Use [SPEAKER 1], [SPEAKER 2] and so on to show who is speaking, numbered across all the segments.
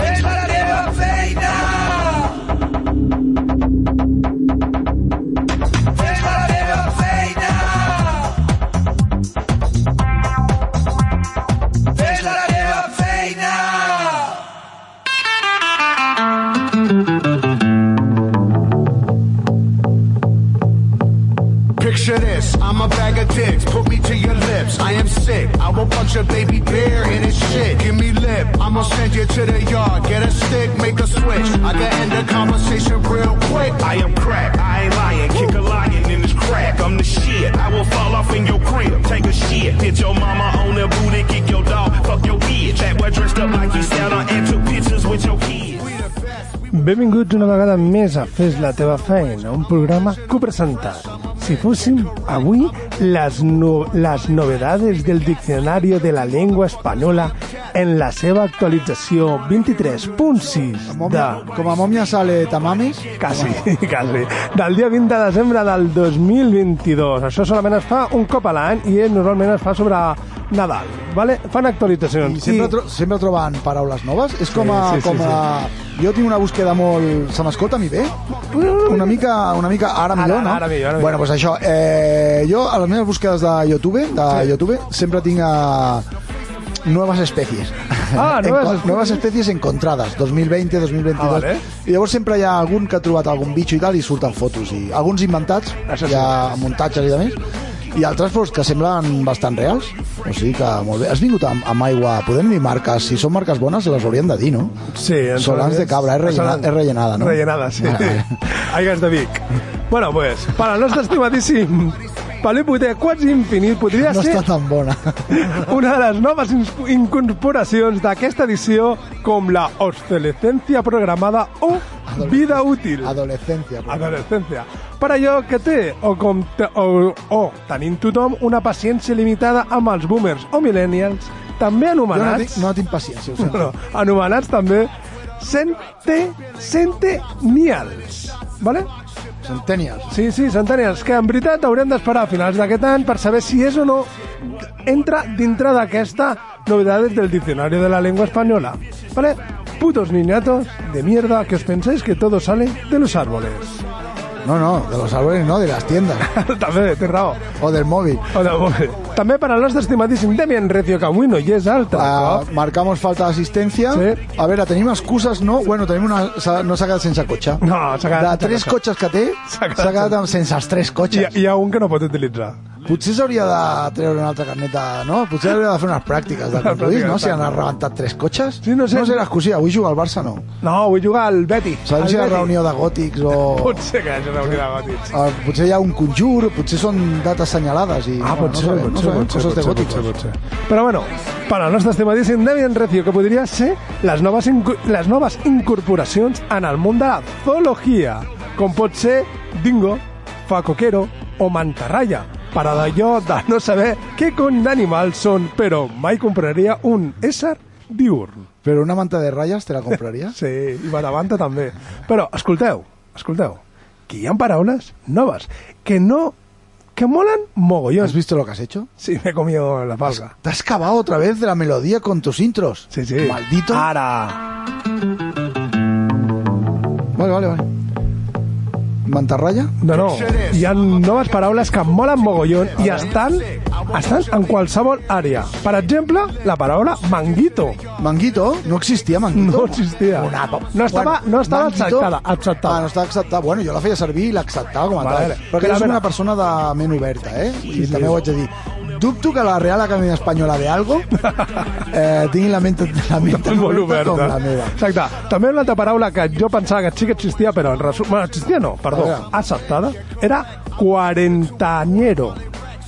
[SPEAKER 1] Fes la teva feina! Fes la teva feina! Fes la teva feina!
[SPEAKER 2] Picture this, I'm a bag of dicks, put me to your lips. I am sick, I will punch a baby bear in his shit. Give me lip, I'm gonna send you to the yard, get a stick, make a switch. I can end the conversation real quick.
[SPEAKER 3] I am crack, I ain't lying, kick a lion in this crack. I'm the shit, I will fall off in your crib, take a shit. Hit your mama on the booty, kick your dog, fuck your bitch. That boy dressed up like you Santa and took pictures with your kids.
[SPEAKER 4] Benvinguts una vegada més a Fes la teva feina, un programa copresentat. Si fóssim avui les, no, les novedades del Diccionari de la Llengua Espanyola en la seva actualització 23.6 de...
[SPEAKER 5] Como a momia sale tamamis.
[SPEAKER 4] Quasi, quasi. Del dia 20 de desembre del 2022. Això solament es fa un cop a l'any i eh, normalment es fa sobre Nadal. Vale? Fan actualitzacions.
[SPEAKER 5] I sempre, tro sempre troben paraules noves. És com a...
[SPEAKER 4] Sí, sí, sí,
[SPEAKER 5] com a... Jo tinc una búsqueda molt... Se m'escolta a mi bé? Una mica, una mica
[SPEAKER 4] Ara,
[SPEAKER 5] ara millor, no?
[SPEAKER 4] ara millor, ara millor.
[SPEAKER 5] Bueno, pues això. Eh, jo a les meves búsquedes de YouTube, de YouTube sempre tinc a... Nuevas especies.
[SPEAKER 4] Ah, nuevas
[SPEAKER 5] Enco-
[SPEAKER 4] especies.
[SPEAKER 5] nuevas especies encontradas, 2020, 2022.
[SPEAKER 4] Ah, vale.
[SPEAKER 5] I llavors sempre hi ha algun que ha trobat algun bitxo i tal i surten fotos i alguns inventats,
[SPEAKER 4] Això sí.
[SPEAKER 5] hi ha muntatges i de més i altres pues, que semblen bastant reals o sigui que molt bé, has vingut amb, amb aigua podem dir marques, si són marques bones les hauríem de dir, no?
[SPEAKER 4] Sí, en
[SPEAKER 5] Solans de cabra, és, rellena,
[SPEAKER 4] Solans.
[SPEAKER 5] és rellenada, no?
[SPEAKER 4] Rellenada, sí.
[SPEAKER 5] Vale,
[SPEAKER 4] Aigues de Vic. Bueno, pues, para el nostre estimadíssim Pelípute quasi infinit podria
[SPEAKER 5] vale. no
[SPEAKER 4] ser
[SPEAKER 5] està tan bona
[SPEAKER 4] una de les noves ins- incorporacions d'aquesta edició com la obsolescencia programada o vida útil.
[SPEAKER 5] adolescencia però.
[SPEAKER 4] Adolescencia. Per allò que té o, com te, o, o tenint tothom una paciència limitada amb els boomers o millennials, també
[SPEAKER 5] jo no
[SPEAKER 4] anomenats...
[SPEAKER 5] tinc, no tinc paciència ho sento.
[SPEAKER 4] no, anomenats també Cente, Centennials. Vale?
[SPEAKER 5] centennials
[SPEAKER 4] Sí, sí, Centennials, que en veritat haurem d'esperar a finals d'aquest any per saber si és o no entra dintre d'aquesta novedades del diccionari de la llengua espanyola. Vale? Putos niñatos de mierda que os pensáis que todo sale de los árboles.
[SPEAKER 5] no, no, de los árboles no, de las tiendas
[SPEAKER 4] també, té raó.
[SPEAKER 5] o del mòbil
[SPEAKER 4] Hola, molt bé. També per al nostre estimadíssim Demian Recio Camino, i és altre
[SPEAKER 5] Ah,
[SPEAKER 4] cop.
[SPEAKER 5] marcamos falta de asistencia.
[SPEAKER 4] Sí.
[SPEAKER 5] A ver, tenim excuses, no? Bueno, tenim una... s'ha- No s'ha quedat sense cotxe.
[SPEAKER 4] No, s'ha quedat
[SPEAKER 5] De
[SPEAKER 4] sense
[SPEAKER 5] tres
[SPEAKER 4] cotxe.
[SPEAKER 5] cotxes que té,
[SPEAKER 4] S'ha
[SPEAKER 5] s'ha
[SPEAKER 4] quedat
[SPEAKER 5] quedat amb- sense els tres
[SPEAKER 4] Hi,
[SPEAKER 5] cotxes.
[SPEAKER 4] hi ha un que no pot utilitzar.
[SPEAKER 5] Potser s'hauria de treure una altra carneta, no? Potser hauria de fer unes pràctiques de conduir,
[SPEAKER 4] pràctica de
[SPEAKER 5] no? Si han
[SPEAKER 4] tanc.
[SPEAKER 5] arrebentat tres cotxes.
[SPEAKER 4] Sí, no sé.
[SPEAKER 5] No serà excusa, avui jugar al Barça, no.
[SPEAKER 4] No, vull jugar al Betis.
[SPEAKER 5] Sabem
[SPEAKER 4] Al
[SPEAKER 5] si hi ha
[SPEAKER 4] Betis.
[SPEAKER 5] reunió de gòtics o...
[SPEAKER 4] Potser que hi hagi reunió de gòtics.
[SPEAKER 5] Ah, Potser hi ha un conjur, potser són dates senyalades i...
[SPEAKER 4] Ah,
[SPEAKER 5] bueno,
[SPEAKER 4] pot ser,
[SPEAKER 5] no sabem,
[SPEAKER 4] pot ser,
[SPEAKER 5] no sabem,
[SPEAKER 4] pot ser,
[SPEAKER 5] coses
[SPEAKER 4] pot
[SPEAKER 5] de
[SPEAKER 4] ser,
[SPEAKER 5] gòtics.
[SPEAKER 4] pot ser, pot ser. Però bueno, per al nostre estimadíssim Demian Recio, que podria ser les noves, inco- les noves incorporacions en el món de la zoologia, com pot ser dingo, facoquero o mantarraya, per a d'allò de no saber què con d'animals són, però mai compraria un ésser diurn.
[SPEAKER 5] Però una manta de ratlles te la compraries?
[SPEAKER 4] Sí, i Badabanta també. Però, escolteu, escolteu, que hi ha paraules noves, que no... que molen mogollons.
[SPEAKER 5] Has visto lo que has hecho?
[SPEAKER 4] Sí, me he comido la palga.
[SPEAKER 5] Te has cavado otra vez de la melodía con tus intros.
[SPEAKER 4] Sí, Ah, sí.
[SPEAKER 5] Maldito.
[SPEAKER 4] Ara.
[SPEAKER 5] Vale, vale, vale. Mantarraya.
[SPEAKER 4] No, no. Hi ha noves paraules que molen mogollon i estan, estan en qualsevol àrea. Per exemple, la paraula manguito.
[SPEAKER 5] Manguito. No existía Manguito.
[SPEAKER 4] No existia.
[SPEAKER 5] Una-
[SPEAKER 4] No estava, no estava
[SPEAKER 5] Manguito-
[SPEAKER 4] acceptada. acceptada.
[SPEAKER 5] Ah, no estava acceptada. Bueno, jo la feia servir i l'acceptava com a
[SPEAKER 4] Vale.
[SPEAKER 5] tal.
[SPEAKER 4] Però
[SPEAKER 5] Però que
[SPEAKER 4] a
[SPEAKER 5] jo soc
[SPEAKER 4] veure-
[SPEAKER 5] una persona de ment oberta, eh? Vull dir,
[SPEAKER 4] Sí,
[SPEAKER 5] també
[SPEAKER 4] sí.
[SPEAKER 5] ho haig de dir. Dubto que la Real Academia Espanyola de Algo eh, tingui la ment, la ment tan
[SPEAKER 4] molt
[SPEAKER 5] oberta com
[SPEAKER 4] oberta.
[SPEAKER 5] la meva.
[SPEAKER 4] Exacte. També una altra paraula que jo pensava que sí que existia, però en resum... Bueno, existia no, perdó,
[SPEAKER 5] A veure.
[SPEAKER 4] acceptada, era quarentañero.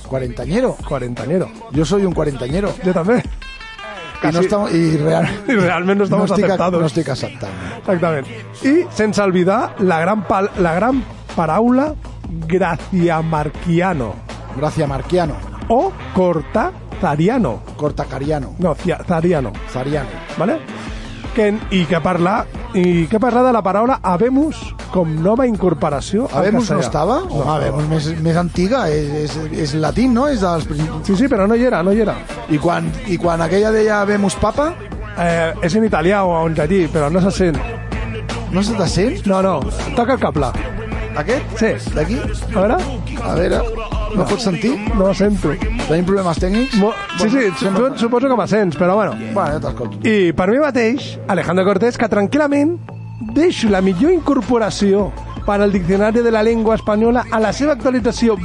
[SPEAKER 5] Cuarentañero.
[SPEAKER 4] Quarentañero.
[SPEAKER 5] Jo soy un cuarentañero.
[SPEAKER 4] Jo també.
[SPEAKER 5] I, no
[SPEAKER 4] Casi-
[SPEAKER 5] estamos, y real,
[SPEAKER 4] I realment no estamos
[SPEAKER 5] estic,
[SPEAKER 4] aceptados.
[SPEAKER 5] No estic acceptant.
[SPEAKER 4] Exactament. I sense oblidar la gran, pal la gran paraula Graciamarquiano
[SPEAKER 5] Gracia Marquiano,
[SPEAKER 4] o Cortazariano.
[SPEAKER 5] Cortacariano,
[SPEAKER 4] No, Cia- Zariano,
[SPEAKER 5] Zariano.
[SPEAKER 4] ¿vale? Que, I que parla i que parla de la paraula habemus com nova incorporació al
[SPEAKER 5] Habemus no
[SPEAKER 4] castellà.
[SPEAKER 5] estava? Home, Habemus més, més antiga, és, és, és latín, no? És dels... prim-
[SPEAKER 4] Sí, sí, però no hi era, no hi era.
[SPEAKER 5] I quan, I quan aquella deia Habemus Papa,
[SPEAKER 4] Eh, és en italià o en llatí, però no se sent.
[SPEAKER 5] no se te sent?
[SPEAKER 4] No, no, toca el cable.
[SPEAKER 5] Aquest?
[SPEAKER 4] Sí.
[SPEAKER 5] D'aquí?
[SPEAKER 4] A veure,
[SPEAKER 5] A veure, no pots sentir?
[SPEAKER 4] no la sento.
[SPEAKER 5] Tenim problemes tècnics?
[SPEAKER 4] Mo sí, sí, tu et suposo que me sents, però bueno.
[SPEAKER 5] Bueno, jo t'escolto.
[SPEAKER 4] I per mi mateix, Alejandro Cortés, que tranquil·lament deixo la millor incorporació per al Diccionari de la Llengua Espanyola a la seva actualització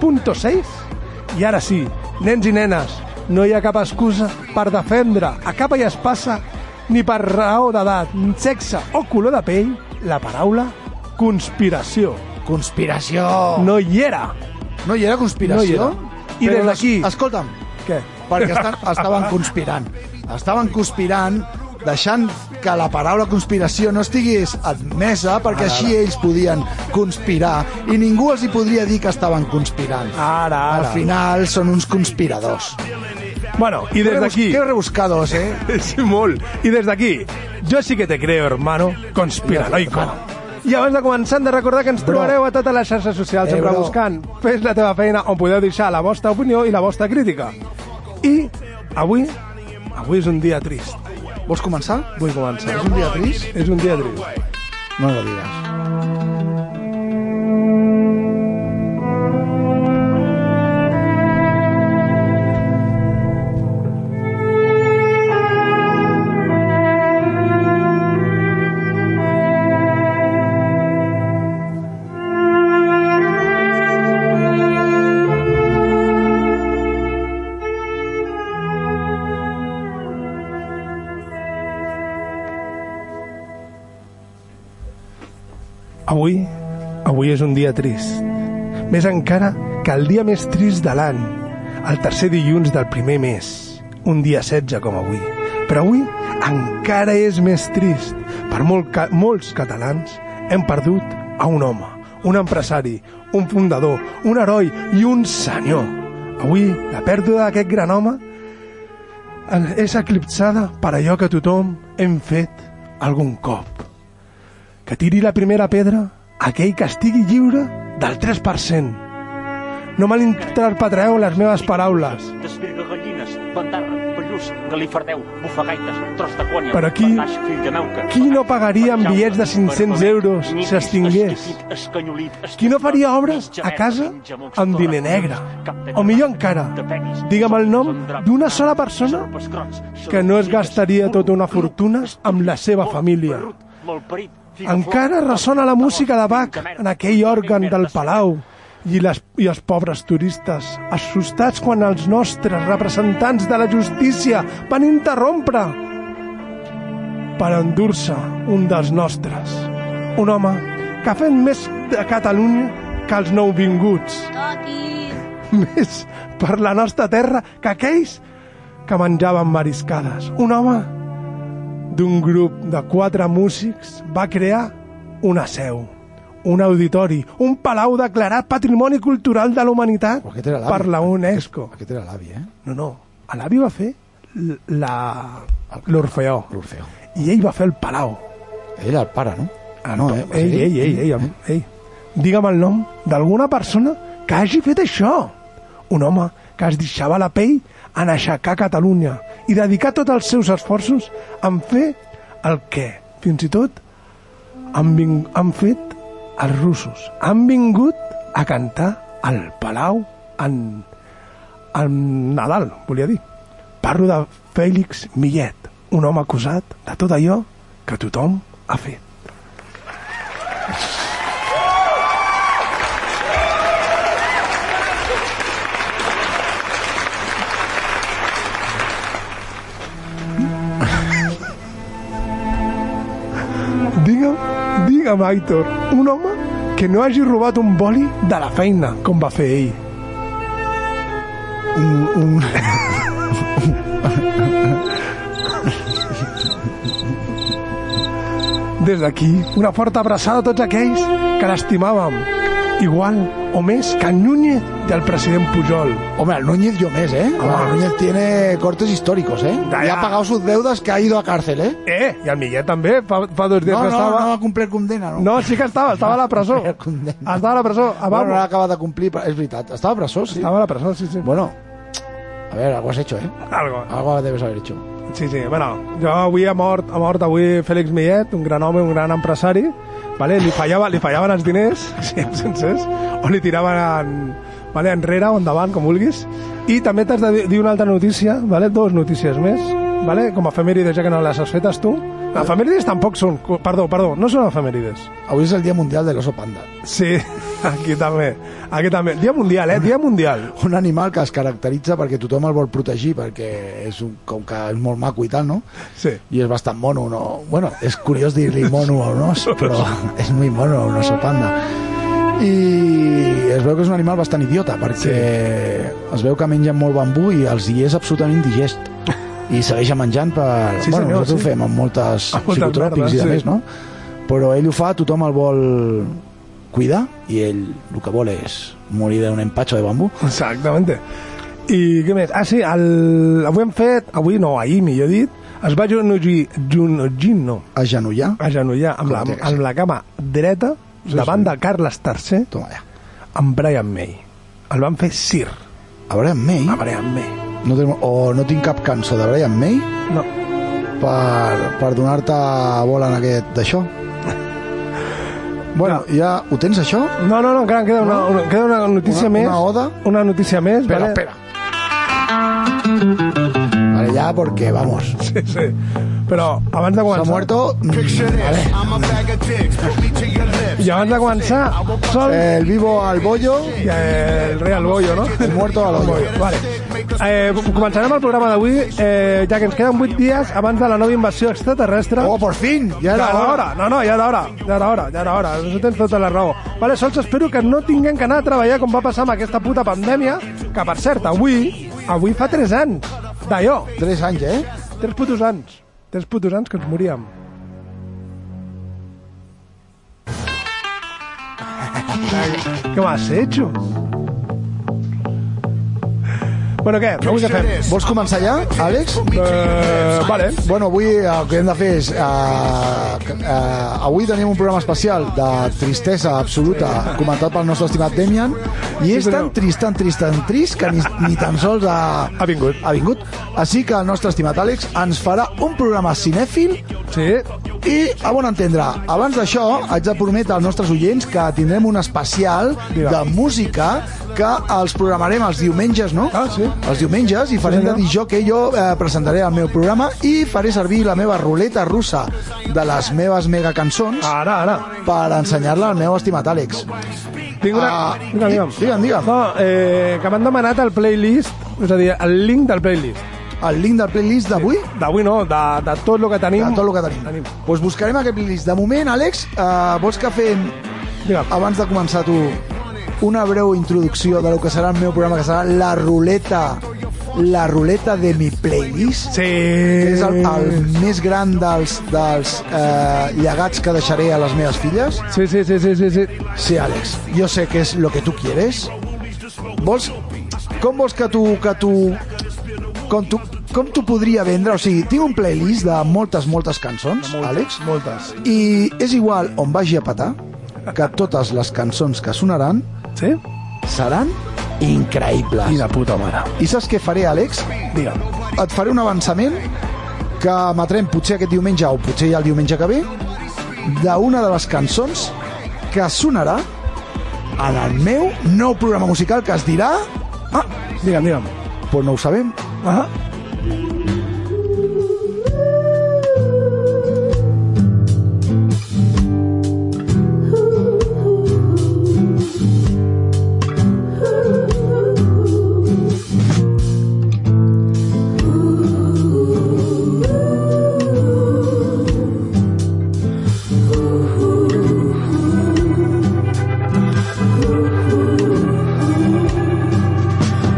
[SPEAKER 4] 23.6 i ara sí, nens i nenes, no hi ha cap excusa per defendre a capa i espasa ni per raó d'edat, sexe o color de pell la paraula conspiració.
[SPEAKER 5] Conspiració! No,
[SPEAKER 4] No hi era.
[SPEAKER 5] no hi era
[SPEAKER 4] No hi
[SPEAKER 5] conspiració?
[SPEAKER 4] era. I
[SPEAKER 5] Però
[SPEAKER 4] des
[SPEAKER 5] les-
[SPEAKER 4] d'aquí...
[SPEAKER 5] Escolta'm,
[SPEAKER 4] Què?
[SPEAKER 5] perquè estan, estaven conspirant. Estaven conspirant deixant que la paraula conspiració no estigués admesa perquè així ells podien conspirar i ningú els hi podria dir que estaven conspirant.
[SPEAKER 4] Ara,
[SPEAKER 5] Al
[SPEAKER 4] ara.
[SPEAKER 5] final són uns conspiradors.
[SPEAKER 4] Bueno, i des
[SPEAKER 5] Rebus-
[SPEAKER 4] d'aquí...
[SPEAKER 5] Que rebuscados, eh?
[SPEAKER 4] Sí, molt. I des d'aquí, jo sí que te creo, hermano, conspiranoico. I abans de començar, hem de recordar que ens
[SPEAKER 5] Bro.
[SPEAKER 4] trobareu a totes les xarxes socials,
[SPEAKER 5] Eh,
[SPEAKER 4] sempre
[SPEAKER 5] bro.
[SPEAKER 4] buscant Fes la teva feina, on podeu deixar la vostra opinió i la vostra crítica. I avui, avui és un dia trist.
[SPEAKER 5] Vols començar?
[SPEAKER 4] Vull començar.
[SPEAKER 5] És un dia trist?
[SPEAKER 4] És un dia trist.
[SPEAKER 5] No lo digues.
[SPEAKER 4] Avui, avui és un dia trist. Més encara que el dia més trist de l'any, el tercer dilluns del primer mes, un dia 16 com avui. Però avui encara és més trist. Per molt ca molts catalans hem perdut a un home, un empresari, un fundador, un heroi i un senyor. Avui la pèrdua d'aquest gran home és eclipsada per allò que tothom hem fet algun cop que tiri la primera pedra aquell que estigui lliure del 3%. No malinterpretareu les meves paraules,
[SPEAKER 6] Desvirga gallines, bandarra, pallús, galifardeu, bufagaites, tros de conya,
[SPEAKER 4] Però qui-
[SPEAKER 6] bardaix, fill de meuca,
[SPEAKER 4] qui no pagaria amb
[SPEAKER 6] petjauca,
[SPEAKER 4] bitllets de 500 euros si
[SPEAKER 6] nyipis,
[SPEAKER 4] es tingués?
[SPEAKER 6] esquifit, escanyolit,
[SPEAKER 4] Qui no faria
[SPEAKER 6] estorbat,
[SPEAKER 4] obres
[SPEAKER 6] mitja
[SPEAKER 4] a
[SPEAKER 6] veta,
[SPEAKER 4] casa
[SPEAKER 6] mitja mocs,
[SPEAKER 4] amb
[SPEAKER 6] torra,
[SPEAKER 4] diner negre?
[SPEAKER 6] cap de
[SPEAKER 4] O millor
[SPEAKER 6] llavac,
[SPEAKER 4] encara,
[SPEAKER 6] de peguis,
[SPEAKER 4] digue'm el nom
[SPEAKER 6] són draps,
[SPEAKER 4] d'una sola persona
[SPEAKER 6] sorpes grocs,
[SPEAKER 4] que no es
[SPEAKER 6] sorpes
[SPEAKER 4] gastaria
[SPEAKER 6] negres,
[SPEAKER 4] tota una
[SPEAKER 6] un grup,
[SPEAKER 4] fortuna amb la seva
[SPEAKER 6] estúpid,
[SPEAKER 4] família.
[SPEAKER 6] brut, malparit, figaflor,
[SPEAKER 4] Encara
[SPEAKER 6] tos,
[SPEAKER 4] ressona la
[SPEAKER 6] tos,
[SPEAKER 4] música de Bach
[SPEAKER 6] merda,
[SPEAKER 4] en aquell òrgan del
[SPEAKER 6] merda,
[SPEAKER 4] Palau i, les, i els pobres turistes, assustats quan els nostres representants de la justícia van interrompre per endur-se un dels nostres. Un home que ha fet més de Catalunya que els nouvinguts. Més per la nostra terra que aquells que menjaven mariscades. Un home d'un grup de quatre músics va crear una seu, un auditori, un palau declarat Patrimoni Cultural de la Humanitat
[SPEAKER 5] Però aquest era l'avi.
[SPEAKER 4] per la UNESCO.
[SPEAKER 5] Aquest era l'avi, eh?
[SPEAKER 4] No, no, a l'avi va fer l- la- l'Orfeó
[SPEAKER 5] L'Orfeo.
[SPEAKER 4] i ell va fer el palau.
[SPEAKER 5] Ell era el pare, no? Ah, no, eh?
[SPEAKER 4] Ei, ei, ei, ei, ei, ei. Digue'm el nom d'alguna persona que hagi fet això. Un home que es deixava la pell en aixecar Catalunya i dedicar tots els seus esforços en fer el que, fins i tot, han, ving... han fet els russos. Han vingut a cantar al Palau en, en Nadal, volia dir. Parlo de Fèlix Millet, un home acusat de tot allò que tothom ha fet. Digue'm, digue'm, Aitor, un home que no hagi robat un boli de la feina, com va fer ell.
[SPEAKER 5] Un, un...
[SPEAKER 4] Des d'aquí, una forta abraçada a tots aquells que l'estimàvem igual o més que Núñez del president Pujol.
[SPEAKER 5] Hombre, el Núñez yo mes, ¿eh? Hombre, el Núñez tiene cortes históricos, ¿eh?
[SPEAKER 4] Ya,
[SPEAKER 5] Y
[SPEAKER 4] ya.
[SPEAKER 5] ha pagado sus deudas que ha ido a cárcel, ¿eh?
[SPEAKER 4] Eh, i el Millet també, fa, fa dos dies
[SPEAKER 5] No,
[SPEAKER 4] que
[SPEAKER 5] no,
[SPEAKER 4] estava...
[SPEAKER 5] no va a cumplir condena, ¿no?
[SPEAKER 4] No, sí que estava, estava a la presó.
[SPEAKER 5] Era condemnat.
[SPEAKER 4] Estava a la presó, a
[SPEAKER 5] bueno, no
[SPEAKER 4] Babo.
[SPEAKER 5] l'ha acabat de complir, però és veritat. Estava a presó, sí.
[SPEAKER 4] Estava a la presó, sí, sí.
[SPEAKER 5] Bueno, a ver, algo has hecho, ¿eh?
[SPEAKER 4] Algo.
[SPEAKER 5] Algo debes haber hecho.
[SPEAKER 4] Sí, sí, bueno, jo avui ha mort, ha mort avui Fèlix Millet, un gran home, un gran empresari, vale? li, fallava, li fallaven els diners, si em sencers, o li tiraven vale? enrere o endavant, com vulguis, i també t'has de dir- dir una altra notícia, vale? dues notícies més, vale? com a efemèrides, ja que no les has fetes tu. Efemèrides tampoc són, cu- perdó, perdó, no són efemèrides.
[SPEAKER 5] Avui és el Dia Mundial de l'Oso Panda.
[SPEAKER 4] Sí, aquí també, aquí també. Dia mundial, eh? Dia mundial.
[SPEAKER 5] Un animal que es caracteritza perquè tothom el vol protegir, perquè és un, com que és molt maco i tal, no?
[SPEAKER 4] Sí.
[SPEAKER 5] I és bastant mono, no? Bueno, és curiós dir-li mono a un os, però és muy mono un oso panda. I es veu que és un animal bastant idiota, perquè es veu que mengen molt bambú i els hi és absolutament digest. I segueix menjant per...
[SPEAKER 4] Sí,
[SPEAKER 5] bueno,
[SPEAKER 4] senyor, sí.
[SPEAKER 5] nosaltres ho fem amb moltes
[SPEAKER 4] Amb moltes
[SPEAKER 5] psicotròpics i
[SPEAKER 4] merdes,
[SPEAKER 5] de
[SPEAKER 4] sí.
[SPEAKER 5] més, no? Però ell ho fa, tothom el vol cuidar i ell el que vol és morir d'un empatxo de bambú.
[SPEAKER 4] Exactament. I què més? Ah, sí, el... avui hem fet, avui no, ahir millor dit, es va genollir, genollir, no,
[SPEAKER 5] Agenollar.
[SPEAKER 4] agenollar amb la,
[SPEAKER 5] Com té que ser.
[SPEAKER 4] amb la cama dreta
[SPEAKER 5] Sí,
[SPEAKER 4] davant
[SPEAKER 5] sí.
[SPEAKER 4] de Carles III
[SPEAKER 5] Toma allà.
[SPEAKER 4] amb Brian May. El van fer Sir,
[SPEAKER 5] A Brian May,
[SPEAKER 4] a Brian May.
[SPEAKER 5] no tenim, o no tinc cap cançó de Brian May,
[SPEAKER 4] No,
[SPEAKER 5] per, per donar-te bola en aquest d'això. Bueno, ja ho tens això?
[SPEAKER 4] no, no, no encara en queda una, una, queda una notícia
[SPEAKER 5] Una-
[SPEAKER 4] més.
[SPEAKER 5] una oda?
[SPEAKER 4] Una notícia més.
[SPEAKER 5] Espera,
[SPEAKER 4] vale?
[SPEAKER 5] espera. Vale, ya porque vamos.
[SPEAKER 4] Sí, sí. Però abans de
[SPEAKER 5] Ha
[SPEAKER 4] començar...
[SPEAKER 5] muerto
[SPEAKER 2] Picture this. I'm a bag of dicks. Put me to your lips.
[SPEAKER 4] I abans de començar, Sol...
[SPEAKER 5] eh, el vivo al bollo.
[SPEAKER 4] i el rei al bollo, no?
[SPEAKER 5] El muerto al hoyo.
[SPEAKER 4] Vale. Eh, començarem el programa d'avui, eh, ja que ens queden 8 dies abans de la nova invasió extraterrestre.
[SPEAKER 5] Oh, por fin. Ya
[SPEAKER 4] ja
[SPEAKER 5] era
[SPEAKER 4] era
[SPEAKER 5] hora.
[SPEAKER 4] hora. No, no, ja era hora, ja era hora, ja era hora. Això tens tota la raó. Vale, sols espero que no tinguem que anar a treballar com va passar amb aquesta puta pandèmia, que per cert, avui, avui fa 3 anys d'allò.
[SPEAKER 5] Tres anys, eh?
[SPEAKER 4] 3 putos anys. 3 putos anys que ens moríem. ¿Qué más has hecho? Bueno, què? Avui què fem?
[SPEAKER 5] Vols començar ja, Àlex?
[SPEAKER 4] Eh, vale.
[SPEAKER 5] Bueno, avui el que hem de fer és... Eh, eh, avui tenim un programa especial de tristesa absoluta comentat pel nostre estimat Demian i és tan trist, tan trist, tan trist que ni, ni tan sols ha,
[SPEAKER 4] Ha vingut.
[SPEAKER 5] ha vingut. Així que el nostre estimat Àlex ens farà un programa cinèfil
[SPEAKER 4] Sí,
[SPEAKER 5] i, a bon entendre, abans d'això haig de prometre als nostres oients que tindrem un especial de música que els programarem els diumenges, no?
[SPEAKER 4] Ah, sí.
[SPEAKER 5] els diumenges i farem de dir jo que jo eh, presentaré el meu programa i faré servir la meva ruleta russa de les meves mega cançons
[SPEAKER 4] ara, ara.
[SPEAKER 5] per ensenyar-la al meu estimat Àlex.
[SPEAKER 4] Tinc una...
[SPEAKER 5] Ah,
[SPEAKER 4] digue'm, digue'm.
[SPEAKER 5] digue'm, digue'm.
[SPEAKER 4] No, eh, que m'han demanat el playlist, és a dir, el link del playlist.
[SPEAKER 5] El link del playlist d'avui
[SPEAKER 4] D'avui no, de, de tot el que tenim.
[SPEAKER 5] de tot el que tenim.
[SPEAKER 4] Tenim.
[SPEAKER 5] Doncs pues buscarem aquest playlist. De moment, Àlex, eh, vols que fem,
[SPEAKER 4] Digue'm.
[SPEAKER 5] abans de començar tu, una breu introducció de lo que serà el meu programa, que serà la ruleta la ruleta de mi playlist
[SPEAKER 4] Sí.
[SPEAKER 5] que és el, el més gran dels, dels eh, llegats que deixaré a les meves filles.
[SPEAKER 4] Sí, sí, sí, sí, sí, sí.
[SPEAKER 5] Sí, Àlex, jo sé que és lo que tu quieres. Vols... Com vols que tu... Que tu com tu, com tu podria vendre? O sigui, tinc un playlist de moltes, moltes cançons, Àlex,
[SPEAKER 4] Moltes.
[SPEAKER 5] i és igual on vagi a patar que totes les cançons que sonaran
[SPEAKER 4] Sí?
[SPEAKER 5] seran increïbles.
[SPEAKER 4] de puta mare.
[SPEAKER 5] I saps què faré, Àlex?
[SPEAKER 4] Digue'm.
[SPEAKER 5] et faré un avançament que emetrem potser aquest diumenge o potser ja el diumenge que ve d'una de les cançons que sonarà en el meu nou programa musical que es dirà ah,
[SPEAKER 4] Digue'm, digue'm.
[SPEAKER 5] però no ho sabem
[SPEAKER 4] Ah,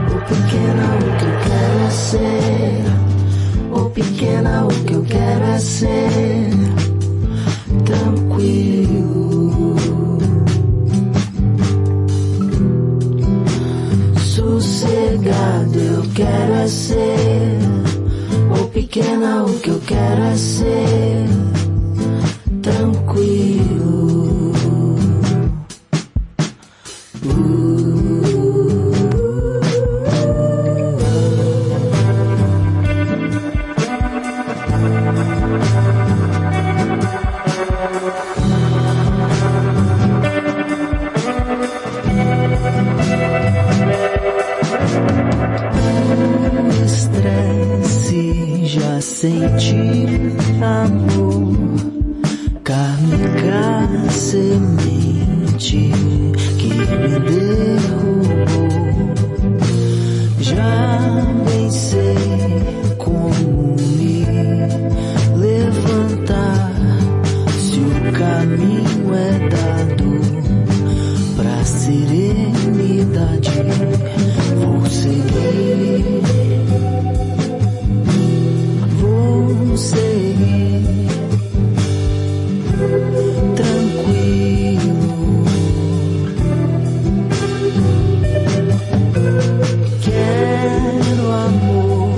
[SPEAKER 7] Porque no te quedas en sossegado, eu quero é ser. Ou pequena, o que eu quero é ser. Tranquilo. O estresse já sente amor. Carne semente que me derrubou. Já nem sei como me levantar. Se o caminho é dado pra serenidade, vou seguir. Vou seguir tranquilo. Quero amor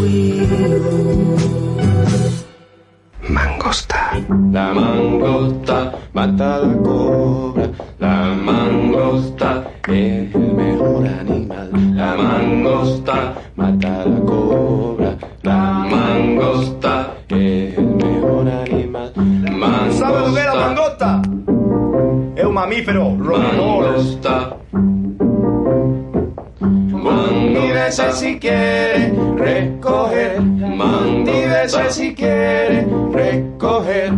[SPEAKER 7] tranquilo.
[SPEAKER 8] La mangosta mata la cobra. La mangosta es el mejor animal. La mangosta mata la cobra. La mangosta es el mejor animal.
[SPEAKER 9] Sabe lo que es la
[SPEAKER 8] Mangosta,
[SPEAKER 9] mangota? Es un mamífero roedor.
[SPEAKER 8] mangosta. Mangosta,
[SPEAKER 9] Tírese si quiere recoger.
[SPEAKER 8] mangosta,
[SPEAKER 9] Tírese si quiere recoger.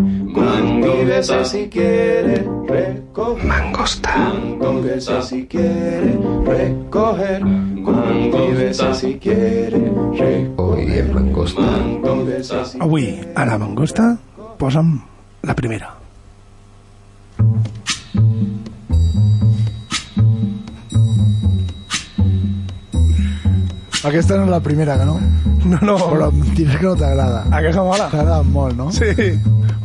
[SPEAKER 9] Tírese si quiere recoger.
[SPEAKER 8] mangosta,
[SPEAKER 9] Tírese si quiere recoger. Tírese si quiere recoger.
[SPEAKER 8] Hoy es mangosta.
[SPEAKER 9] Tírese si
[SPEAKER 4] Avui, a la mangosta, posa'm la primera.
[SPEAKER 5] Aquesta no és la primera que no,
[SPEAKER 4] No, no,
[SPEAKER 5] però em diràs que no t'agrada.
[SPEAKER 4] aquesta mola.
[SPEAKER 5] T'agrada molt, no?
[SPEAKER 4] Sí,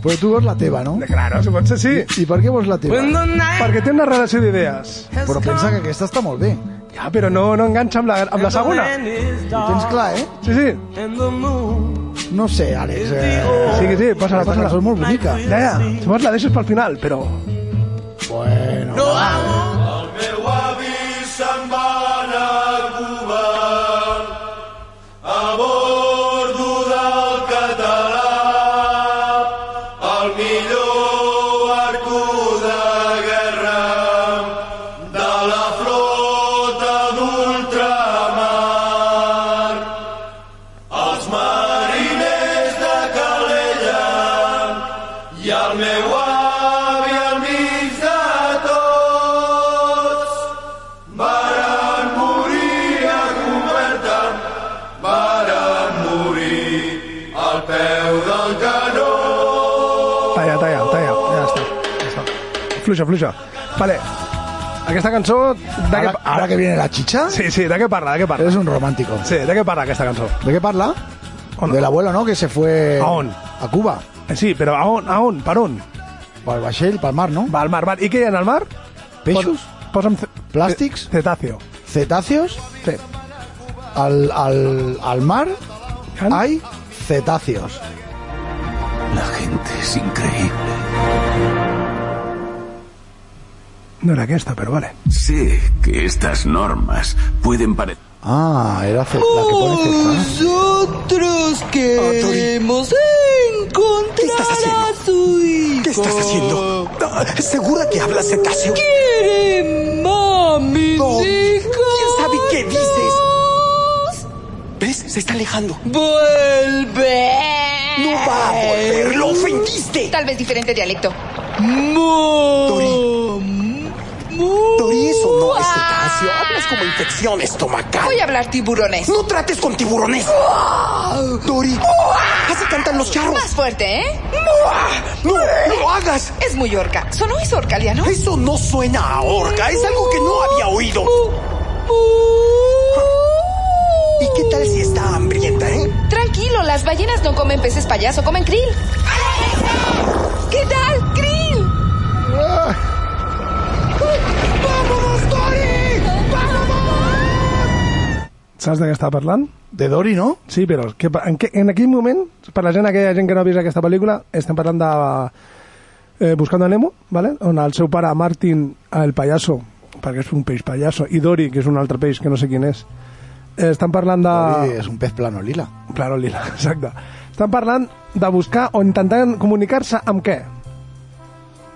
[SPEAKER 5] Però tu vols la teva, no?
[SPEAKER 4] claro, si pot ser sí.
[SPEAKER 5] I per què vols la teva?
[SPEAKER 4] Perquè té una relació d'idees.
[SPEAKER 5] Però pensa que aquesta està molt bé. Ho
[SPEAKER 4] Ja, però no, no enganxa amb la, amb la segona.
[SPEAKER 5] tens clar, eh?
[SPEAKER 4] Sí, sí,
[SPEAKER 5] No sé, Àlex. Eh...
[SPEAKER 4] sí, que sí, passa-la,
[SPEAKER 5] Aquesta
[SPEAKER 4] passa-la.
[SPEAKER 5] cançó és molt bonica.
[SPEAKER 4] Ja, ja, si vols la deixes pel final, però... Talla, talla, talla, ja està. Ja està. Fluixa, fluixa. Vale, aquesta cançó... De què,
[SPEAKER 5] Ara, ara que viene la chicha,
[SPEAKER 4] Sí, sí, de què parla, de què parla?
[SPEAKER 5] eres un romántico.
[SPEAKER 4] Sí, de què parla aquesta cançó?
[SPEAKER 5] ¿De qué parla?
[SPEAKER 4] On?
[SPEAKER 5] Del abuelo, ¿no? Que se fue
[SPEAKER 4] ¿A on?
[SPEAKER 5] a Cuba.
[SPEAKER 4] Eh, Sí, però a on, a on, per on?
[SPEAKER 5] O al Baxell, pa'l mar, ¿no?
[SPEAKER 4] Va al mar, va. I què hi ha en el mar?
[SPEAKER 5] Peixos,
[SPEAKER 4] Pos- Posa'm... ce-
[SPEAKER 5] Plàstics?
[SPEAKER 4] Cetàceo.
[SPEAKER 5] cetáceos.
[SPEAKER 4] Sí.
[SPEAKER 5] Al, al, al mar
[SPEAKER 4] Han?
[SPEAKER 5] hay cetáceos.
[SPEAKER 4] No era aquesta, però vale.
[SPEAKER 10] Sé que estas normas pueden parecer...
[SPEAKER 5] Ah, era ce- la que pone cetáceos.
[SPEAKER 7] Nosotros
[SPEAKER 1] Ah,
[SPEAKER 7] queremos encontrar a su hijo. ¿Qué estás haciendo?
[SPEAKER 1] Segura que hablas cetáceo.
[SPEAKER 7] Quiere mami,
[SPEAKER 1] ¿Quién sabe qué dices? ¿Ves? Se está alejando.
[SPEAKER 7] Vuelve.
[SPEAKER 1] No va a volver. Lo ofendiste.
[SPEAKER 7] Tal vez diferente dialecto.
[SPEAKER 1] Dori, eso no es cetáceo. Hablas como infección estomacal.
[SPEAKER 7] Voy a hablar tiburones.
[SPEAKER 1] No trates con tiburones. Dori, así cantan los charros.
[SPEAKER 7] Más fuerte, ¿eh?
[SPEAKER 1] No, no lo hagas.
[SPEAKER 7] Es muy orca. ¿Sonó es orcaliano?
[SPEAKER 1] Eso no suena a orca. Es algo que no había oído.
[SPEAKER 7] Uh,
[SPEAKER 1] ¿Y qué tal si está hambrienta, eh?
[SPEAKER 7] Tranquilo, las ballenas no comen peces payaso, comen krill. ¿Qué tal, krill?
[SPEAKER 4] Saps de què està parlant?
[SPEAKER 5] De Dory, no?
[SPEAKER 4] Sí, però que, pa- en, que, en aquell moment, per la gent, aquella gent que no ha vist aquesta pel·lícula, estem parlant de eh, Buscando a Nemo, ¿vale? on el seu pare, Martin, el pallasso, perquè és un peix pallasso, i Dory, que és un altre peix que no sé quin és, eh, estan parlant de...
[SPEAKER 5] Ui, És un pez plano lila.
[SPEAKER 4] Claro, lila, exacte. Estan parlant de buscar o intentant comunicar-se amb què?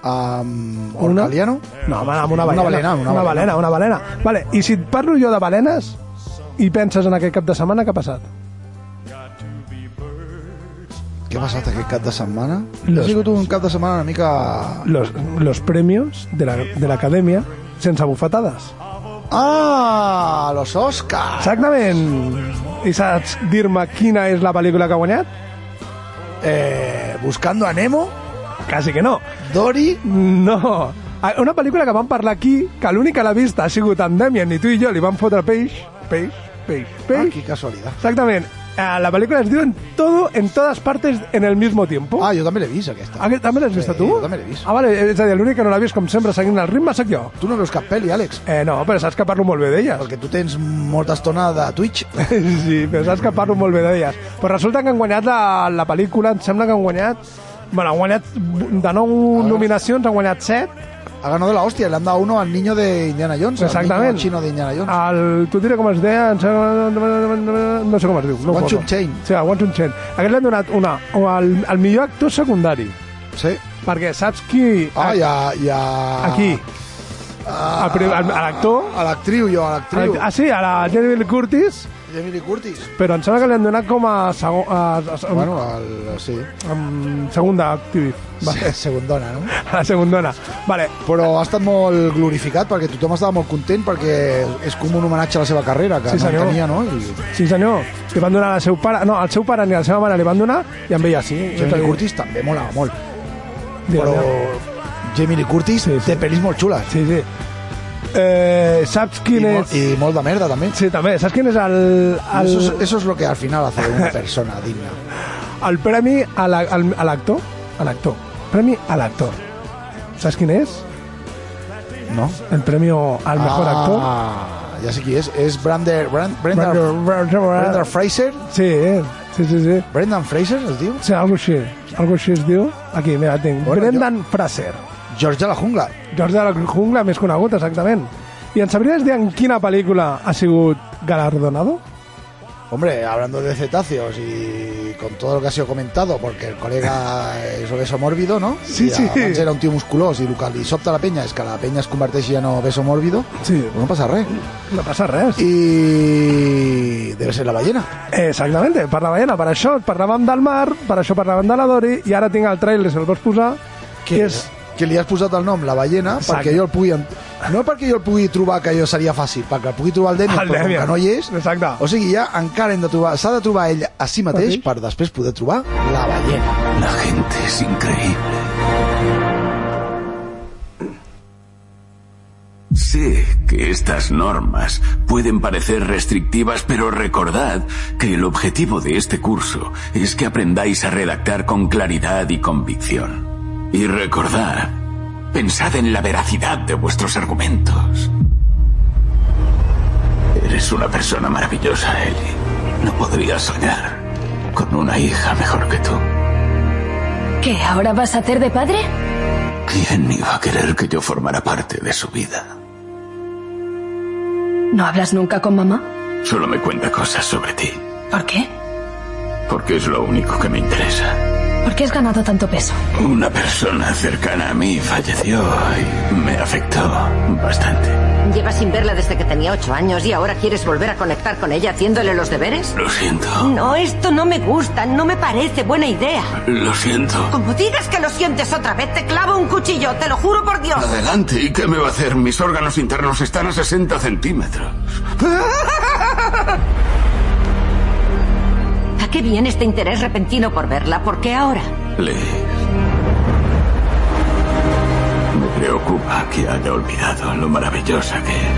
[SPEAKER 5] Amb um, Orcaliano?
[SPEAKER 4] No, home, amb una
[SPEAKER 5] Una
[SPEAKER 4] balena.
[SPEAKER 5] balena, una
[SPEAKER 4] una balena.
[SPEAKER 5] balena.
[SPEAKER 4] Una balena, Vale, i si et parlo jo de balenes i penses en aquest cap de setmana, què ha passat?
[SPEAKER 5] Què ha passat aquest cap de setmana?
[SPEAKER 4] Los-
[SPEAKER 5] Ha sigut un cap de setmana una mica...
[SPEAKER 4] Los, los premios de la- de l'acadèmia la, sense bufetades.
[SPEAKER 5] Ah, los Oscars!
[SPEAKER 4] Exactament. I saps dir-me quina és la pel·lícula que ha guanyat?
[SPEAKER 5] Eh, buscando a Nemo?
[SPEAKER 4] Quasi que no.
[SPEAKER 5] Dory?
[SPEAKER 4] No. Ah, Una pel·lícula que vam parlar aquí, que l'únic que l'ha vist ha sigut en Damien, i tu i jo li vam fotre peix, peix, peix,
[SPEAKER 5] Ah,
[SPEAKER 4] peix.
[SPEAKER 5] qué casualidad.
[SPEAKER 4] Exactament. Eh, La pel·lícula es diu en todo, en todas partes, en el mismo tiempo.
[SPEAKER 5] Ah, jo també l'he vist, aquesta.
[SPEAKER 4] Aquest també l'has vist
[SPEAKER 5] Sí,
[SPEAKER 4] tu?
[SPEAKER 5] jo també l'he vist.
[SPEAKER 4] Ah, vale, és a dir, l'únic que no l'ha vist, com sempre, seguint el ritme, sóc jo.
[SPEAKER 5] Tu no veus cap pel·li, Àlex?
[SPEAKER 4] Eh, no, però saps que parlo molt bé d'elles.
[SPEAKER 5] Perquè tu tens molta estona de Twitch.
[SPEAKER 4] sí, però saps que parlo molt bé d'elles. Però resulta que han guanyat la, la pel·lícula, em sembla que han guanyat... Bueno, han guanyat de nou nominacions, han guanyat set.
[SPEAKER 5] Ha ganado la hostia, le han dado uno al niño de Indiana Jones. al
[SPEAKER 4] Exactament.
[SPEAKER 5] niño chino de Indiana Jones.
[SPEAKER 4] El, tu diré com es deia, em sembla- no sé com es diu. No
[SPEAKER 5] One
[SPEAKER 4] poso.
[SPEAKER 5] Chun Chain.
[SPEAKER 4] Sí, el One Chun Chain. Aquest l'han donat una, o el, el millor actor secundari.
[SPEAKER 5] Sí.
[SPEAKER 4] Perquè saps qui... eh,
[SPEAKER 5] Ah, i a... I a...
[SPEAKER 4] Aquí. el prim- el-
[SPEAKER 5] Ah.
[SPEAKER 4] a l'actor.
[SPEAKER 5] A l'actriu, jo, a l'actriu.
[SPEAKER 4] Ah, sí, a la Jennifer Lee Curtis,
[SPEAKER 5] Jamie Lee Curtis.
[SPEAKER 4] però em sembla que li han donat com a, segon, a, a,
[SPEAKER 5] Bueno, al, sí.
[SPEAKER 4] a, a segunda activist. Va,
[SPEAKER 5] Vale. Segundona, no?
[SPEAKER 4] a la segundona. Vale,
[SPEAKER 5] Però ha estat molt glorificat perquè tothom estava molt content perquè és com un homenatge a la seva carrera, que
[SPEAKER 4] Sí,
[SPEAKER 5] no
[SPEAKER 4] senyor.
[SPEAKER 5] en tenia, no? I
[SPEAKER 4] sí senyor, li van donar al seu pare, no, al seu pare ni a la seva mare li van donar i amb ella sí.
[SPEAKER 5] Jamie Lee Curtis també molava molt.
[SPEAKER 4] Digue,
[SPEAKER 5] Però Jamie Lee Curtis
[SPEAKER 4] Sí, sí.
[SPEAKER 5] té pel·lis molt xules.
[SPEAKER 4] Sí, sí. Eh, saps
[SPEAKER 5] I,
[SPEAKER 4] quin
[SPEAKER 5] mo-
[SPEAKER 4] és...
[SPEAKER 5] I molt de merda, també.
[SPEAKER 4] Sí, també, saps quin és el, el,
[SPEAKER 5] Eso, es, eso es lo que al final hace una persona digna.
[SPEAKER 4] el premi a la- al- a l'actor? A l'actor. Premi a l'actor. Saps quin és?
[SPEAKER 5] ¿No?
[SPEAKER 4] El premi al mejor actor.
[SPEAKER 5] Ah, ya sé quién es. Es Brander, Brand- Brenda, Brenda
[SPEAKER 4] Brandon-
[SPEAKER 5] Fraser.
[SPEAKER 4] Sí, eh? sí, sí, sí.
[SPEAKER 5] Brendan Fraser, es diu?
[SPEAKER 4] Sí, algo així. Algo així es diu. Aquí, mira, tinc.
[SPEAKER 5] Bueno,
[SPEAKER 4] Brendan Fraser.
[SPEAKER 5] George de la jungla.
[SPEAKER 4] George de la jungla més conegut, exactament. I ens sabries dir en quina pel·lícula ha sigut galardonado?
[SPEAKER 5] Hombre, hablando de cetáceos y con todo lo que ha sido comentado, porque el colega es obeso mórbido, ¿no?
[SPEAKER 4] Sí,
[SPEAKER 5] I
[SPEAKER 4] sí.
[SPEAKER 5] Abans era un tio musculós i el que li sobta a la penya és que la penya es converteix en obeso mórbido.
[SPEAKER 4] Sí.
[SPEAKER 5] No passa res.
[SPEAKER 4] No passa res.
[SPEAKER 5] I debe ser la ballena.
[SPEAKER 4] Exactamente, per la ballena, per això parlàvem del mar, per això parlàvem de la Dori, i ara tinc el trailer, se'l vols posar, que és...
[SPEAKER 5] que li has posat el nom, la ballena,
[SPEAKER 4] Exacte.
[SPEAKER 5] perquè jo el pugui... ent- No perquè jo el pugui trobar, que jo seria fàcil, perquè el pugui trobar el Demian,
[SPEAKER 4] Ah, El
[SPEAKER 5] però com
[SPEAKER 4] Demian.
[SPEAKER 5] que no hi és...
[SPEAKER 4] Exacte.
[SPEAKER 5] O sigui, ja encara hem de trobar... S'ha de trobar ell a si mateix
[SPEAKER 4] Mateix.
[SPEAKER 5] per després poder trobar la ballena.
[SPEAKER 10] La gente es increíble. Sé que estas normas pueden parecer restrictivas, pero recordad que el objetivo de este curso es que aprendáis a redactar con claridad y convicción. Y recordad, pensad en la veracidad de vuestros argumentos. Eres una persona maravillosa, Ellie. No podrías soñar con una hija mejor que tú.
[SPEAKER 11] ¿Qué? ¿Ahora vas a hacer de padre?
[SPEAKER 10] ¿Quién iba a querer que yo formara parte de su vida?
[SPEAKER 11] ¿No hablas nunca con mamá?
[SPEAKER 10] Solo me cuenta cosas sobre ti,
[SPEAKER 11] ¿Por qué?
[SPEAKER 10] porque es lo único que me interesa.
[SPEAKER 11] ¿Por qué has ganado tanto peso?
[SPEAKER 10] Una persona cercana a mí falleció y me afectó bastante.
[SPEAKER 12] Llevas sin verla desde que tenía ocho años y ahora quieres volver a conectar con ella haciéndole los deberes.
[SPEAKER 10] Lo siento,
[SPEAKER 12] No, esto no me gusta, no me parece buena idea.
[SPEAKER 10] lo siento.
[SPEAKER 12] Como digas que lo sientes otra vez, te clavo un cuchillo, te lo juro por Dios.
[SPEAKER 10] Adelante, ¿y qué me va a hacer? Mis órganos internos están a 60 centímetros.
[SPEAKER 12] ¿A qué viene este interés repentino por verla? ¿Por qué ahora?
[SPEAKER 10] Liz. Me preocupa que haya olvidado lo maravillosa que es.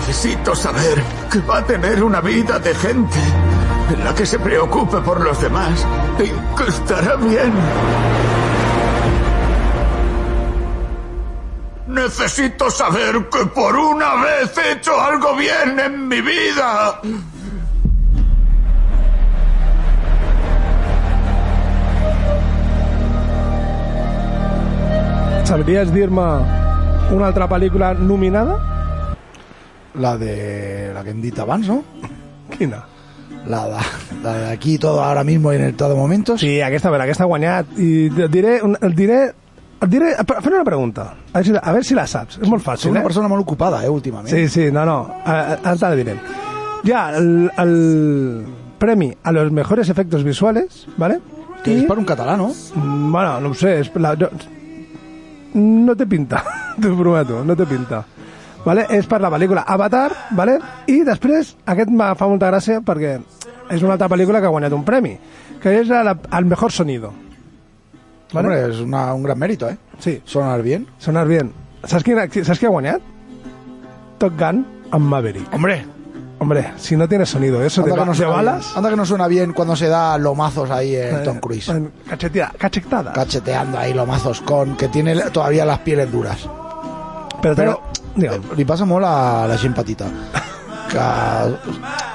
[SPEAKER 10] Necesito saber que va a tener una vida de gente en la que se preocupe por los demás y que estará bien.
[SPEAKER 13] necesito saber que por una vez he hecho algo bien en mi vida.
[SPEAKER 4] Sabries dir-me una altra pel·lícula nominada?
[SPEAKER 5] La de... la que hem dit abans, no?
[SPEAKER 4] Quina?
[SPEAKER 5] La de, la de aquí todo ahora mismo y en el todo momento.
[SPEAKER 4] Sí, aquesta, a veure, aquesta ha guanyat. I et diré, un- et diré, et diré, fent una pregunta. A veure, si, la- a veure si la saps. És molt fàcil,
[SPEAKER 5] Soy una
[SPEAKER 4] eh?
[SPEAKER 5] persona molt ocupada, eh, últimament.
[SPEAKER 4] Sí, sí, no, no. a- a- Ara te la diré. Ya, el, el premi a los mejores efectos visuales, ¿vale? Que es para
[SPEAKER 5] un catalano.
[SPEAKER 4] Bueno, no ho sé, es la- no, no te pinta, t'ho prometo, no te pinta. Vale? És per la pel·lícula Avatar, vale? i després, aquest me fa molta gràcia perquè és una altra pel·lícula que ha guanyat un premi, que és la, el mejor sonido.
[SPEAKER 5] Vale. Hombre, es una, un gran mérito, ¿eh?
[SPEAKER 4] Sí.
[SPEAKER 5] Sonar bien.
[SPEAKER 4] Sonar bien. Saps qui, saps qui ha guanyat? Top Gun amb Maverick.
[SPEAKER 5] Hombre.
[SPEAKER 4] Hombre, si no tienes sonido, eso te,
[SPEAKER 5] Anda que, no
[SPEAKER 4] no te
[SPEAKER 5] suena
[SPEAKER 4] balas.
[SPEAKER 5] bien. Anda que no suena bien cuando se da lomazos ahí eh,
[SPEAKER 4] Eh,
[SPEAKER 5] Tom Cruise.
[SPEAKER 4] cachetada.
[SPEAKER 5] Cacheteando ahí lomazos con que tiene todavía las pieles duras.
[SPEAKER 4] Pero,
[SPEAKER 5] eh, li passa molt a la gent petita. Que,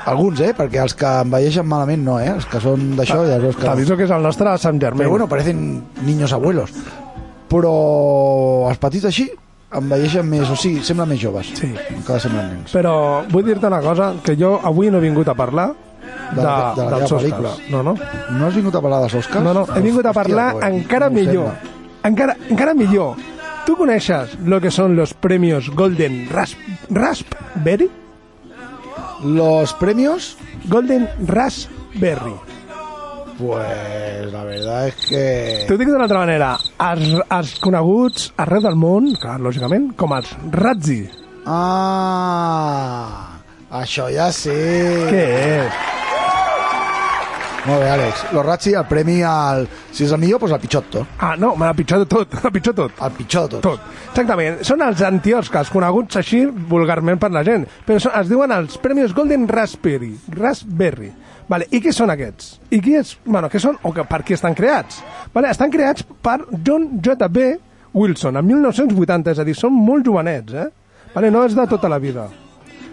[SPEAKER 5] alguns, eh? Perquè els que envelleixen malament no, eh? Els que són d'això... ja veus que...
[SPEAKER 4] T'aviso que és el nostre Sant Germain.
[SPEAKER 5] Però bueno, parecen niños abuelos. Però els petits així envelleixen més, o sigui, semblen més joves.
[SPEAKER 4] Sí.
[SPEAKER 5] Encara semblen nens.
[SPEAKER 4] Però vull dir-te una cosa, que jo avui no he vingut a parlar de,
[SPEAKER 5] De la- de la
[SPEAKER 4] dels
[SPEAKER 5] teva
[SPEAKER 4] Oscars.
[SPEAKER 5] pel·lícula.
[SPEAKER 4] No, no.
[SPEAKER 5] No has vingut a parlar dels Oscars?
[SPEAKER 4] No, no, he vingut a
[SPEAKER 5] Hòstia,
[SPEAKER 4] parlar
[SPEAKER 5] pues,
[SPEAKER 4] encara
[SPEAKER 5] no ho
[SPEAKER 4] millor. Encara, encara millor. Tu coneixes lo que són los premios Golden Rasp, Raspberry?
[SPEAKER 5] Los premios
[SPEAKER 4] Golden Raspberry.
[SPEAKER 5] Pues la verdad es que...
[SPEAKER 4] T'ho dic d'una altra manera. Els, els coneguts arreu del món, clar, lògicament, com els Razzi.
[SPEAKER 5] Ah, això ja sí.
[SPEAKER 4] Què és?
[SPEAKER 5] Molt bé, Àlex. Los Ratzi, el premi al... Si és el millor, doncs el pitjor de tot.
[SPEAKER 4] Ah, no, el pitjor de tot, el pitjor de tot.
[SPEAKER 5] El pitjor de tot.
[SPEAKER 4] Tot. Exactament. Són els antioscars, coneguts així vulgarment per la gent. Però són, es diuen els Premis Golden Raspberry. Raspberry. Vale, I què són aquests? I qui és, bueno, què són o que, per qui estan creats? Vale, estan creats per John J.B. Wilson, en 1980, és a dir, són molt jovenets, eh? Vale, no és de tota la vida.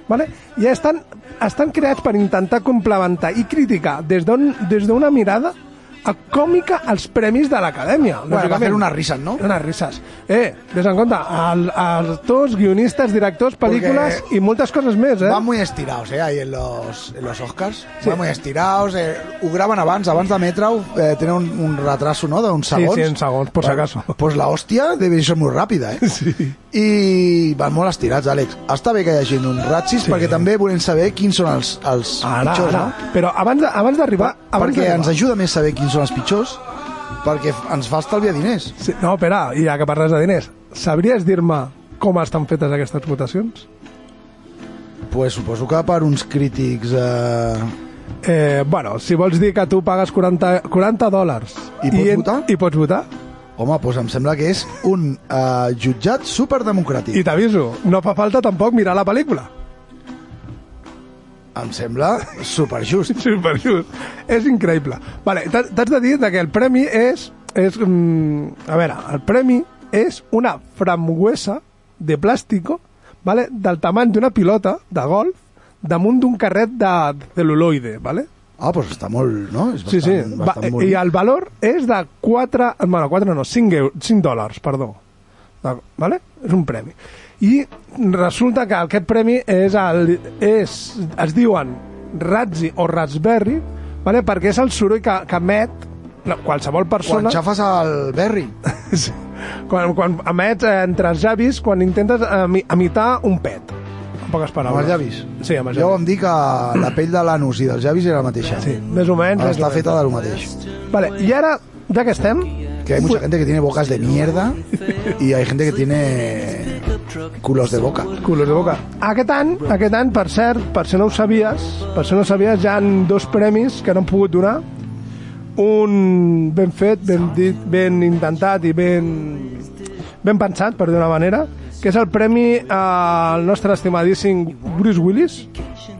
[SPEAKER 4] Vale? Ja estan, estan creats per intentar complementar i criticar des d'un- des d'una mirada a còmica als premis de l'acadèmia.
[SPEAKER 5] Bueno, va
[SPEAKER 4] lògicament.
[SPEAKER 5] fer unes risas, no?
[SPEAKER 4] Unes Ah, risas. Eh, des en compte, el, actors, guionistes, directors, pel·lícules
[SPEAKER 5] Perquè
[SPEAKER 4] i moltes coses més, eh?
[SPEAKER 5] Van muy estirados, eh, ahí en los, en los Oscars. Van muy estirados, eh, ho graven abans, abans d'emetre-ho, eh, tenen un, un retraso, no?, d'uns
[SPEAKER 4] Sí,
[SPEAKER 5] segons.
[SPEAKER 4] sí, en segons, por si
[SPEAKER 5] Bueno,
[SPEAKER 4] acaso.
[SPEAKER 5] Pues la hòstia deve ser molt ràpida, eh?
[SPEAKER 4] Sí.
[SPEAKER 5] I van molt estirats, Àlex. Està bé que hi hagi un ratxis, sí. perquè també volem saber quins són els, els
[SPEAKER 4] Ara,
[SPEAKER 5] pitjors,
[SPEAKER 4] ara.
[SPEAKER 5] no?
[SPEAKER 4] Però abans de- abans d'arribar... abans
[SPEAKER 5] Perquè
[SPEAKER 4] d'arribar-
[SPEAKER 5] ens ajuda més saber quins són els pitjors, perquè f- ens fa estalviar diners.
[SPEAKER 4] Sí, no, espera, i ja que parles de diners, sabries dir-me com estan fetes aquestes votacions?
[SPEAKER 5] Pues suposo que per uns crítics... Eh...
[SPEAKER 4] Eh, bueno, si vols dir que tu pagues 40, 40 dòlars...
[SPEAKER 5] I pots
[SPEAKER 4] en-
[SPEAKER 5] votar?
[SPEAKER 4] I pots votar?
[SPEAKER 5] Home, doncs em sembla que és un eh, jutjat superdemocràtic.
[SPEAKER 4] I t'aviso, no fa falta tampoc mirar la pel·lícula.
[SPEAKER 5] Em sembla superjust.
[SPEAKER 4] Superjust. És increïble. Vale, t'ha- t'has de dir que el premi és... és mm, a veure, el premi és una frambuesa de plàstico vale, del tamany d'una pilota de golf damunt d'un carret de celuloide, vale?
[SPEAKER 5] Ah, doncs està molt, no? És
[SPEAKER 4] sí, sí.
[SPEAKER 5] bastant,
[SPEAKER 4] Va, eh,
[SPEAKER 5] Bastant bonic.
[SPEAKER 4] I el valor és de 4... Bueno, 4 no, 5, eur, 5 dòlars, perdó. De- Vale? És un premi. I resulta que aquest premi és el, és, es diuen Razzi o Raspberry, vale? perquè és el soroll que, que emet la- qualsevol persona...
[SPEAKER 5] Quan xafes al Berry.
[SPEAKER 4] Sí. quan, quan emets eh, entre els llavis quan intentes emi- imitar un pet. En poques
[SPEAKER 5] Amb
[SPEAKER 4] paraules.
[SPEAKER 5] els llavis.
[SPEAKER 4] Sí, amb els
[SPEAKER 5] Ja
[SPEAKER 4] llavis.
[SPEAKER 5] vam dir que la pell de l'anus i dels llavis era la mateixa. Sí,
[SPEAKER 4] més o menys. més o
[SPEAKER 5] Ah, Està
[SPEAKER 4] menys.
[SPEAKER 5] feta del mateix.
[SPEAKER 4] Vale, I ara, ja que estem...
[SPEAKER 5] Que hay mucha gente que tiene bocas de mierda y hay gente que tiene culos de boca.
[SPEAKER 4] Culos de boca. Aquest any, aquest any, per cert, per si no ho sabies, per si no ho sabies, hi han dos premis que no han pogut donar. Un ben fet, ben dit, ben intentat i ben, ben pensat, per d'una manera, que és el premi al nostre estimadíssim Bruce Willis.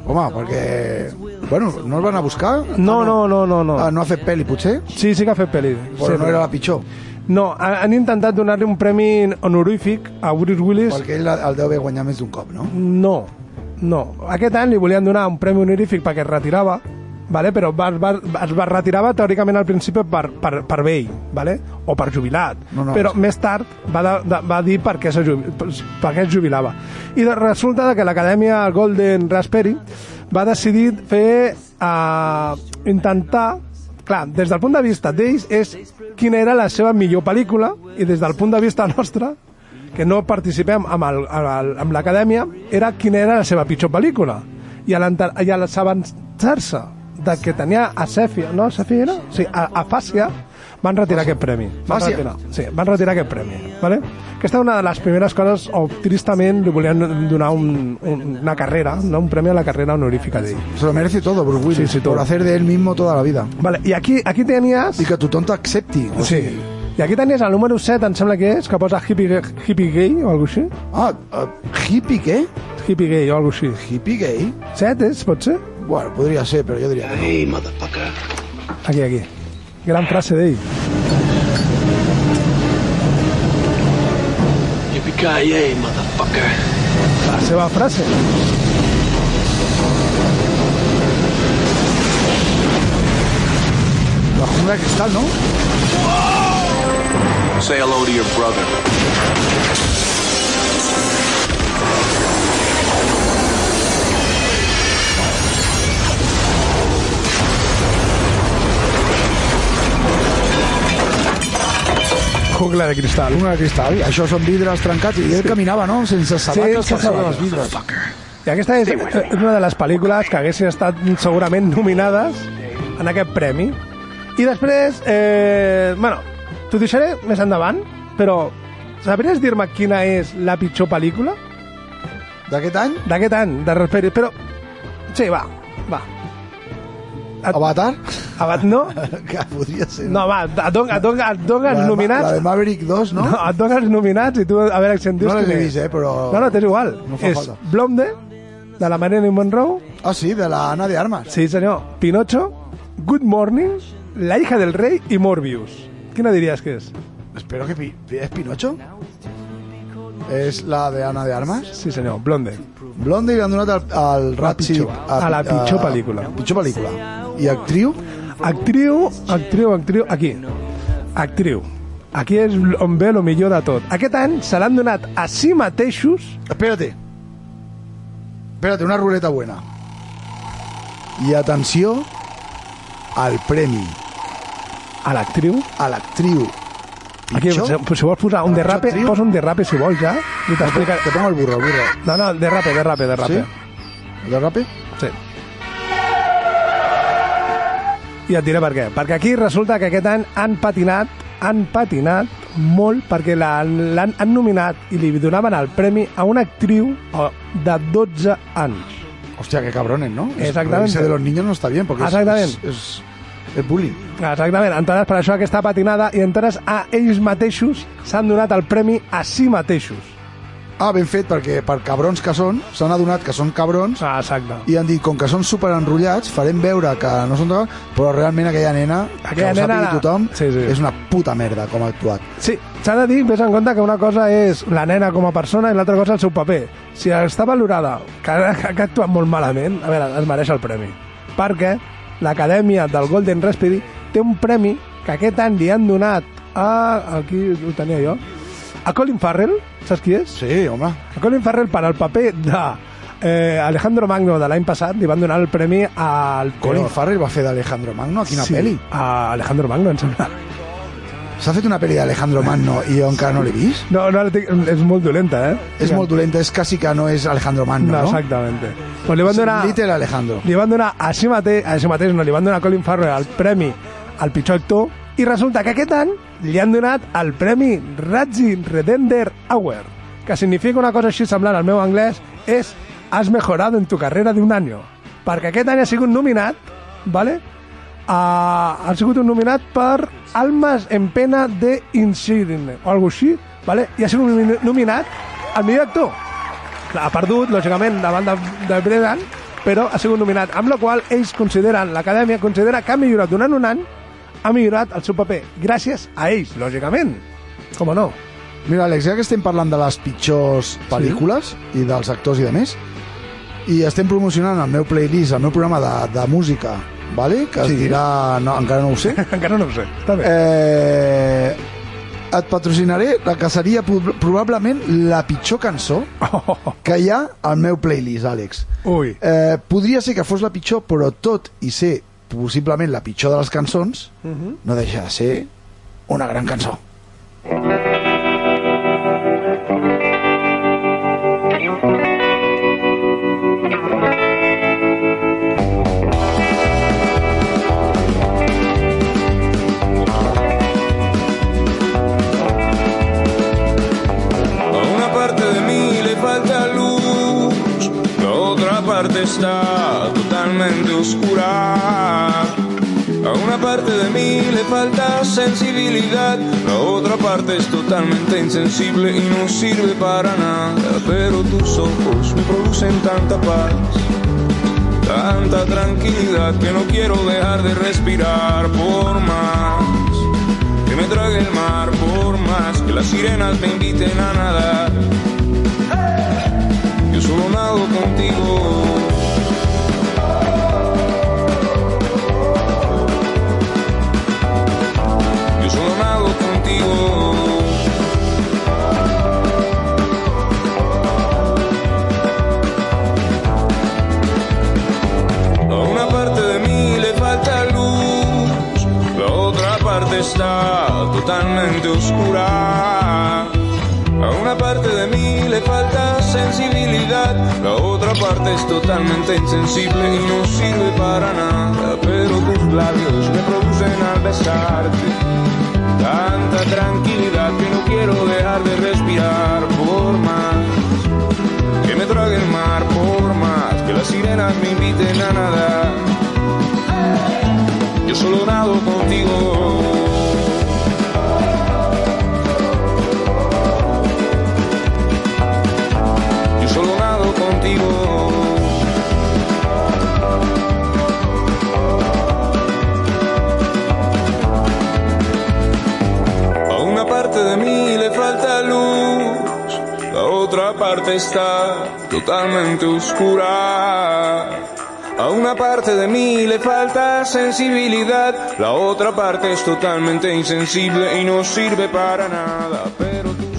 [SPEAKER 5] Home, perquè... Bueno, no el van a buscar?
[SPEAKER 4] Ah, No, no, no, no. no.
[SPEAKER 5] Ah, no ha fet pel·li, potser?
[SPEAKER 4] Sí, sí que ha fet pel·li.
[SPEAKER 5] Però no era la pitjor.
[SPEAKER 4] No, ha- han intentat donar-li un premi honorífic a Bruce Willis.
[SPEAKER 5] Perquè ell el deu haver guanyat més d'un cop, no?
[SPEAKER 4] No, no. Aquest any li volien donar un premi honorífic perquè es retirava, vale? però va, va, es va retirava teòricament al principi per, per, per vell, vale? o per jubilat.
[SPEAKER 5] No, no,
[SPEAKER 4] però
[SPEAKER 5] és-
[SPEAKER 4] més tard va, de, de, va dir per què, se jubi, per, per què es jubilava. I de, resulta que l'Acadèmia Golden Raspberry va decidir fer... Uh, intentar Clar, des del punt de vista d'ells és quina era la seva millor pel·lícula i des del punt de vista nostre, que no participem amb el- amb el- amb l'acadèmia, era quina era la seva pitjor pel·lícula. I a l'enter- i a l'avançar-se de que tenia a Sèfia, no, Sèfia era? Sí, a, a Fàcia, van retirar aquest premi. Van
[SPEAKER 5] Fàcia.
[SPEAKER 4] retirar, sí, van retirar aquest premi. Vale? Aquesta és una de les primeres coses, o tristament, li volien donar un, un, una carrera, no? un premi a la carrera honorífica d'ell.
[SPEAKER 5] Se lo merece todo, Bruce Willis,
[SPEAKER 4] Sí, sí, todo.
[SPEAKER 5] por hacer de él mismo toda la vida.
[SPEAKER 4] Vale, y aquí, aquí tenías...
[SPEAKER 5] Y que tu tonto accepti. o
[SPEAKER 4] Sí.
[SPEAKER 5] sigui,
[SPEAKER 4] I aquí tenies el número 7, em sembla que és, que posa hippie, hippie gay o alguna així.
[SPEAKER 5] Ah, uh, hippie què?
[SPEAKER 4] Hippie gay o alguna així.
[SPEAKER 5] Hippie gay?
[SPEAKER 4] 7 és, pot ser?
[SPEAKER 5] Bueno, podria ser, però jo diria que no.
[SPEAKER 8] Hey, motherfucker.
[SPEAKER 4] Aquí, aquí. Gran frase d'ell.
[SPEAKER 8] Yippee-ki-yay, motherfucker.
[SPEAKER 4] La seva frase.
[SPEAKER 5] La jungla de cristal, no?
[SPEAKER 14] Say hello to your brother.
[SPEAKER 4] Jungla de cristal.
[SPEAKER 5] Jungla de cristal. Això són vidres trencats i ell caminava, no? Sense sabates,
[SPEAKER 4] sense
[SPEAKER 5] sí, caçava
[SPEAKER 4] sabates.
[SPEAKER 5] les vidres.
[SPEAKER 4] I aquesta és, és una de les pel·lícules que haguessin estat segurament nominades en aquest premi. I després, eh, bueno, t'ho deixaré més endavant, però sabries dir-me quina és la pitjor pel·lícula?
[SPEAKER 5] D'aquest any?
[SPEAKER 4] D'aquest any, de Raspberry, però... Sí, va, va.
[SPEAKER 5] Avatar?
[SPEAKER 4] Abat, no?
[SPEAKER 5] Que podria ser.
[SPEAKER 4] No, va, et don- et don- et dono
[SPEAKER 5] La
[SPEAKER 4] els
[SPEAKER 5] de Ma-
[SPEAKER 4] nominats...
[SPEAKER 5] La de Maverick 2, no?
[SPEAKER 4] No, et dono els nominats i tu a veure si em dius
[SPEAKER 5] No les
[SPEAKER 4] quin
[SPEAKER 5] he
[SPEAKER 4] és.
[SPEAKER 5] vist, eh, però...
[SPEAKER 4] No, no, t'és igual.
[SPEAKER 5] No fa
[SPEAKER 4] és
[SPEAKER 5] falta.
[SPEAKER 4] Blonde, de la Marilyn Monroe.
[SPEAKER 5] Ah, sí, de la Ana de Armas.
[SPEAKER 4] Sí, senyor. Pinocho, Good Morning, La hija del rei i Morbius. Quina diries que és?
[SPEAKER 5] Espero que... Pi- ¿Es Pinocho? ¿Es la de Ana de Armas?
[SPEAKER 4] Sí, senyor, Blonde.
[SPEAKER 5] Blonde i l'han donat al, al Rat
[SPEAKER 4] pitjor.
[SPEAKER 5] Chip,
[SPEAKER 4] A la pitjor pel·lícula.
[SPEAKER 5] Pitjor pel·lícula. I actriu?
[SPEAKER 4] Actriu, actriu, actriu... Aquí. Actriu. Aquí és on ve el millor de tot. Aquest any se l'han donat a si mateixos...
[SPEAKER 5] Espérate. Espérate, una ruleta buena. I atenció al premi.
[SPEAKER 4] A l'actriu?
[SPEAKER 5] A l'actriu.
[SPEAKER 4] Aquí, si,
[SPEAKER 5] Pitjor?
[SPEAKER 4] si vols posar un
[SPEAKER 5] La pitjor
[SPEAKER 4] derrape,
[SPEAKER 5] actriu?
[SPEAKER 4] posa un derrape si vols ja. I t'explicaré...
[SPEAKER 5] Te pongo el burro, el burro.
[SPEAKER 4] No, no, derrape, derrape, derrape.
[SPEAKER 5] Sí? El derrape?
[SPEAKER 4] Sí. I et diré per què. Perquè aquí resulta que aquest any han patinat, han patinat molt perquè la- l'han han nominat i li donaven el premi a una actriu eh, de 12 anys.
[SPEAKER 5] Hostia, qué cabrones, ¿no? Es-
[SPEAKER 4] Exactamente.
[SPEAKER 5] reírse de los niños no está bien porque es-
[SPEAKER 4] Exactamente.
[SPEAKER 5] es, es, es bullying.
[SPEAKER 4] Exactament, entenes per això aquesta patinada i entenes a ells mateixos s'han donat el premi a si mateixos.
[SPEAKER 5] Ah, ben fet, perquè per cabrons que són, s'han adonat que són cabrons
[SPEAKER 4] Ah, exacte.
[SPEAKER 5] i han dit, com que són super enrotllats, farem veure que no són cabrons, però realment aquella nena,
[SPEAKER 4] Aquella
[SPEAKER 5] que ho
[SPEAKER 4] nena-
[SPEAKER 5] sàpiga tothom,
[SPEAKER 4] Sí, sí.
[SPEAKER 5] és una puta merda com ha actuat.
[SPEAKER 4] Sí, s'ha de dir, vés en compte que una cosa és la nena com a persona i l'altra cosa el seu paper. Si està valorada, que, que ha actuat molt malament, a veure, es mereix el premi. Perquè l'Acadèmia del Golden Raspberry té un premi que aquest any li han donat a... Aquí ho tenia jo. A Colin Farrell, saps qui és?
[SPEAKER 5] Sí, home.
[SPEAKER 4] A Colin Farrell per al paper de eh, Alejandro Magno de l'any passat li van donar el premi al
[SPEAKER 5] Colin
[SPEAKER 4] peor.
[SPEAKER 5] Farrell va fer d'Alejandro Magno a quina
[SPEAKER 4] sí,
[SPEAKER 5] pel·li?
[SPEAKER 4] A Alejandro Magno, em sembla.
[SPEAKER 5] S'ha fet una pel·li d'Alejandro Magno i jo encara no l'he vist?
[SPEAKER 4] No, no, la tinc- és molt dolenta, eh?
[SPEAKER 5] És molt dolenta, és quasi que no és Alejandro Magno, no?
[SPEAKER 4] Exactamente. Pues li van donar...
[SPEAKER 5] Little Alejandro.
[SPEAKER 4] Li van donar a si mateix, a si mateix no, li van donar a Colin Farrell el premi al pitjor actor i resulta que aquest any li han donat el premi Razzie Redender Hour, que significa una cosa així semblant al meu anglès, és has mejorado en tu carrera d'un any. Perquè aquest any ha sigut nominat, ¿vale? A, ha sigut un nominat per Almas en pena de Incident, o alguna així, ¿vale? i ha sigut nomi- nominat al millor actor ha perdut, lògicament, davant de, de Bredan, però ha sigut nominat, amb la qual ells consideren, l'acadèmia considera que ha millorat durant un any ha millorat el seu paper gràcies a ells, lògicament. Com no?
[SPEAKER 5] Mira, Àlex, ja que estem parlant de les pitjors pel·lícules i dels actors i de més, i estem promocionant el meu playlist, el meu programa de, de música, vale? que sí.
[SPEAKER 4] Sí.
[SPEAKER 5] es dirà... No, encara no ho sé.
[SPEAKER 4] encara no ho sé. Està bé.
[SPEAKER 5] Eh, et patrocinaré la que seria pro- probablement la pitjor cançó que hi ha al meu playlist, Àlex.
[SPEAKER 4] Ui.
[SPEAKER 5] Eh, podria ser que fos la pitjor, però tot i ser possiblement la pitjor de les cançons,
[SPEAKER 4] Mhm.
[SPEAKER 5] no deixa de ser una gran cançó.
[SPEAKER 14] A una parte de mí le falta luz, la otra parte está totalmente oscura. A una parte de mí le falta sensibilidad, la otra parte es totalmente insensible y no sirve para nada. Pero tus ojos me producen tanta paz, tanta tranquilidad que no quiero dejar de respirar por más que me trague el mar por más que las sirenas me inviten a nadar. Yo solo nado contigo. Yo solo nado contigo. A una parte de mí le falta luz. La otra parte está totalmente oscura. A una parte de mí le falta sensibilidad, la otra parte es totalmente insensible y no sirve para nada. Pero tus labios me producen al besarte tanta tranquilidad que no quiero dejar de respirar por más que me trague el mar, por más que las sirenas me inviten a nadar. Yo solo nado contigo. Yo solo nado contigo. A una parte de mí le falta luz, la otra parte está totalmente oscura. A una parte de mí le falta sensibilidad, la otra parte es totalmente insensible y no sirve para nada.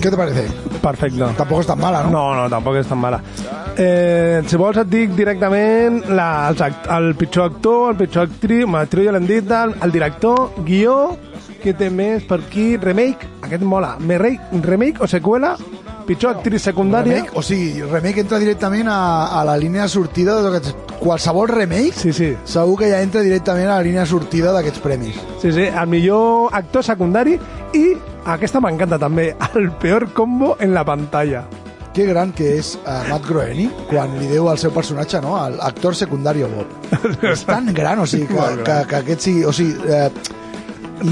[SPEAKER 5] Què te parece?
[SPEAKER 4] Perfecte.
[SPEAKER 5] Tampoc és tan mala, no?
[SPEAKER 4] No, no, tampoc és tan mala. Eh, si vols et dic directament la, els act- el pitjor actor, el pitjor actriu, bueno, actriu ja l'hem dit, el, el director, guió, què té més per aquí? Remake, aquest mola. Me re- Remake o seqüela, pitjor actriu secundària...
[SPEAKER 5] Remake, o sigui, remake entra directament a, a la línia de sortida d'aquests... Qualsevol remake
[SPEAKER 4] sí, sí.
[SPEAKER 5] segur que ja entra directament a la línia de sortida d'aquests premis.
[SPEAKER 4] Sí, sí, el millor actor secundari i aquesta m'encanta també, el peor combo en la pantalla.
[SPEAKER 5] Que gran que és uh, Matt Groening quan li deu al seu personatge, no?, al actor secundari o Bob. És tan gran, o sigui, que, que, que aquest sigui... O sigui, eh, eh,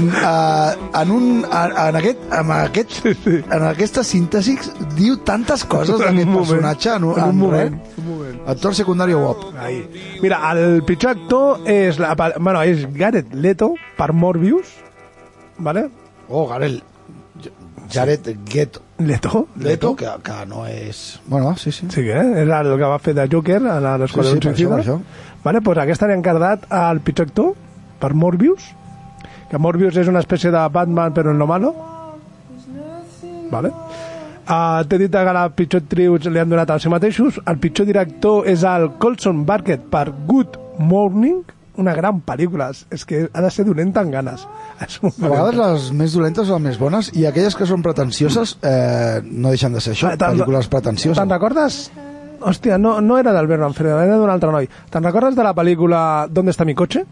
[SPEAKER 5] en, un, en, en, aquest, en, aquest, en aquesta síntesi diu tantes
[SPEAKER 4] En
[SPEAKER 5] coses
[SPEAKER 4] un
[SPEAKER 5] d'aquest
[SPEAKER 4] moment,
[SPEAKER 5] personatge en, un-
[SPEAKER 4] en un
[SPEAKER 5] en
[SPEAKER 4] moment,
[SPEAKER 5] res. Actor secundari o Bob.
[SPEAKER 4] Ahí. Mira, el pitjor actor és, la, pa- bueno, és Gareth Leto per Morbius, ¿vale?
[SPEAKER 5] Oh, Gareth Jared Ghetto.
[SPEAKER 4] Leto.
[SPEAKER 5] Leto, que, que no és... Bueno, sí, sí.
[SPEAKER 4] Sí que eh? és el que va fer de Joker a la- l'Esquadró
[SPEAKER 5] Sí, sí,
[SPEAKER 4] sí,
[SPEAKER 5] per
[SPEAKER 4] sí, Suïcida.
[SPEAKER 5] això, per això.
[SPEAKER 4] Vale, pues aquesta l'he encardat al pitjor actor per Morbius, que Morbius és una espècie de Batman però en lo malo. Vale. Uh, T'he dit que la pitjor actriu li han donat a si mateixos. El pitjor director és el Colson Barkett per Good Morning, una gran pel·lícula. És- És que ha de ser dolenta amb ganes. És un
[SPEAKER 5] A vegades les més dolentes són les més bones i aquelles que són pretensioses eh, no deixen de ser això,
[SPEAKER 4] Ah, te'n-
[SPEAKER 5] pel·lícules pretensioses.
[SPEAKER 4] Te'n recordes? Hòstia, no, no era d'Albert Manfredo, era d'un altre noi. Te'n recordes de la pel·lícula ¿Dónde está mi coche?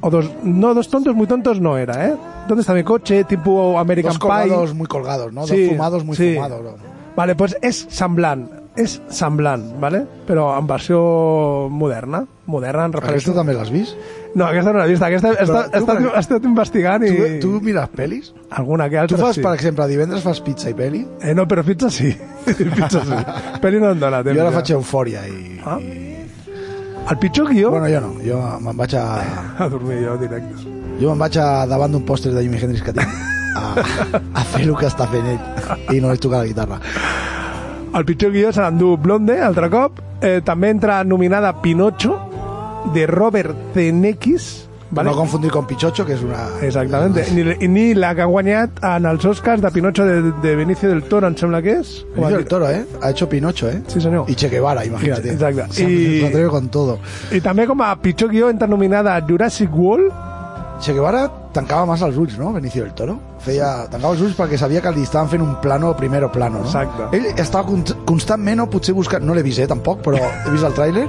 [SPEAKER 4] O dos, no, dos tontos muy tontos no era, ¿eh? ¿Dónde está mi coche? Tipo American
[SPEAKER 5] Dos colgados
[SPEAKER 4] Pie.
[SPEAKER 5] muy colgados, ¿no?
[SPEAKER 4] Sí,
[SPEAKER 5] Dos fumados muy
[SPEAKER 4] sí.
[SPEAKER 5] fumados. ¿no?
[SPEAKER 4] Vale, pues és semblant, és semblant, ¿vale? Però en versió moderna, moderna en referència.
[SPEAKER 5] Aquesta també l'has vist?
[SPEAKER 4] No, aquesta no l'he vist, aquesta he
[SPEAKER 5] Però
[SPEAKER 4] estat, he
[SPEAKER 5] tu
[SPEAKER 4] estat,
[SPEAKER 5] per-
[SPEAKER 4] he estat investigant i...
[SPEAKER 5] Tu, tu mires pel·lis?
[SPEAKER 4] Alguna que
[SPEAKER 5] Tu
[SPEAKER 4] altra
[SPEAKER 5] fas,
[SPEAKER 4] sí.
[SPEAKER 5] per exemple, divendres fas pizza i pel·li?
[SPEAKER 4] Eh, no, però pizza sí. pizza sí. Peli no em dóna temps.
[SPEAKER 5] Jo ara
[SPEAKER 4] ja.
[SPEAKER 5] faig eufòria i...
[SPEAKER 4] Ah. El pitjor guió...
[SPEAKER 5] Bueno, jo no, jo me'n vaig a...
[SPEAKER 4] A dormir jo directe.
[SPEAKER 5] Jo me'n vaig a, davant d'un pòster de Jimi Hendrix que tinc a, a fer el que està fent ell i no vaig tocar la guitarra.
[SPEAKER 4] El pitjor guió se l'endú Blonde, altre cop. Eh, també entra nominada Pinocho, de Robert Zemeckis.
[SPEAKER 5] No confundir con Pichocho, que és una...
[SPEAKER 4] Exactamente. Ni, ni la que ha guanyat en els Oscars de Pinocho de, de Benicio del Toro, em sembla que és. O
[SPEAKER 5] Benicio del Toro, eh? Ha hecho Pinocho, eh?
[SPEAKER 4] Sí, senyor.
[SPEAKER 5] I Che Guevara, imagínate.
[SPEAKER 4] Exacte.
[SPEAKER 5] Se
[SPEAKER 4] I-
[SPEAKER 5] I... con todo.
[SPEAKER 4] I també com a pitjor guió entra nominada Jurassic World.
[SPEAKER 5] Che Guevara tancava massa els ulls, no? Benicio del Toro. Feia, tancava els ulls perquè sabia que li estaven fent un plano primero plano, no?
[SPEAKER 4] Exacte.
[SPEAKER 5] Ell estava con constantment, no, potser buscant... No l'he vist, eh, tampoc, però he vist el tràiler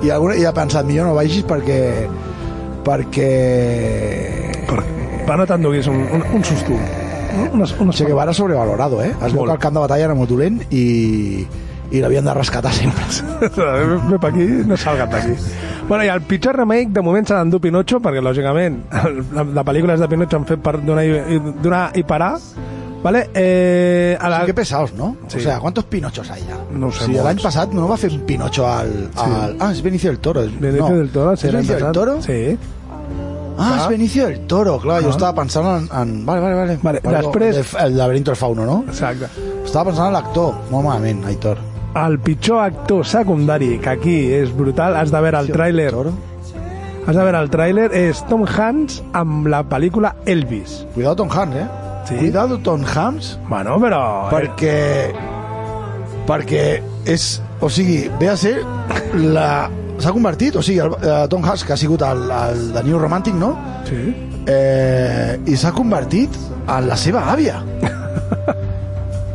[SPEAKER 5] i, alguna, i he pensat, millor no vagis perquè... perquè...
[SPEAKER 4] Va notant duguis un, un, un susto. Unes, unes
[SPEAKER 5] che Guevara sobrevalorado, eh? Es veu
[SPEAKER 4] Molt.
[SPEAKER 5] que el camp de batalla era molt dolent i, i l'havien de rescatar sempre.
[SPEAKER 4] Ve per aquí, no salga't d'aquí. Bueno, i el pitjor remake, de moment, se l'endú Pinocho, perquè, lògicament, el- la, la pel·lícula és de Pinocho, han fet per donar i, i- donar i parar. Vale? Eh, a la...
[SPEAKER 5] Sí, que pesados, ¿no? O sea, ¿cuántos pinochos hay ya?
[SPEAKER 4] No ho sé,
[SPEAKER 5] Sí,
[SPEAKER 4] molts.
[SPEAKER 5] l'any passat no va fer un pinocho al... al... Ah, és Benicio del Toro.
[SPEAKER 4] Benicio
[SPEAKER 5] no.
[SPEAKER 4] del Toro, sí,
[SPEAKER 5] ¿Es
[SPEAKER 4] l'any
[SPEAKER 5] Benicio del
[SPEAKER 4] passat.
[SPEAKER 5] Toro?
[SPEAKER 4] Sí.
[SPEAKER 5] Ah, és Benicio del Toro, clar, jo estava pensant en... en... Vale, vale, vale.
[SPEAKER 4] Vale,
[SPEAKER 5] Algo
[SPEAKER 4] després-
[SPEAKER 5] de f- El laberinto del fauno, no?
[SPEAKER 4] Exacte.
[SPEAKER 5] Estava pensant en l'actor, molt malament, Aitor.
[SPEAKER 4] El pitjor actor secundari, que aquí és brutal, has de veure el tràiler. Has de veure el tràiler, és Tom Hanks amb la pel·lícula Elvis.
[SPEAKER 5] Cuidado Tom Hanks, eh?
[SPEAKER 4] Sí?
[SPEAKER 5] Cuidado Tom Hanks,
[SPEAKER 4] Bueno, però...
[SPEAKER 5] perquè... perquè és... O sigui, ve a ser la... S'ha convertit, o sigui, el, eh, Tom Hanks, que ha sigut el, el de New Romantic, no?
[SPEAKER 4] Sí.
[SPEAKER 5] eh, i s'ha convertit en la seva àvia.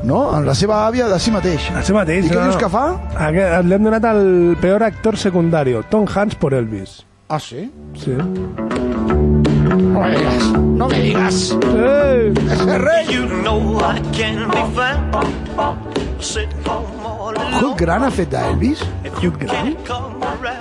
[SPEAKER 5] No? En la seva àvia de si mateix.
[SPEAKER 4] A si mateix,
[SPEAKER 5] I què
[SPEAKER 4] no,
[SPEAKER 5] dius
[SPEAKER 4] no.
[SPEAKER 5] que fa?
[SPEAKER 4] Aquest- L'hem donat al peor actor secundari, Tom Hanks per Elvis.
[SPEAKER 5] Ah, sí?
[SPEAKER 4] Sí.
[SPEAKER 5] No me digas. No me digas.
[SPEAKER 4] Eh!
[SPEAKER 15] You know I can be found sitting home all alone.
[SPEAKER 5] Hugh Grant ha fet d'Elvis?
[SPEAKER 4] Hugh Grant?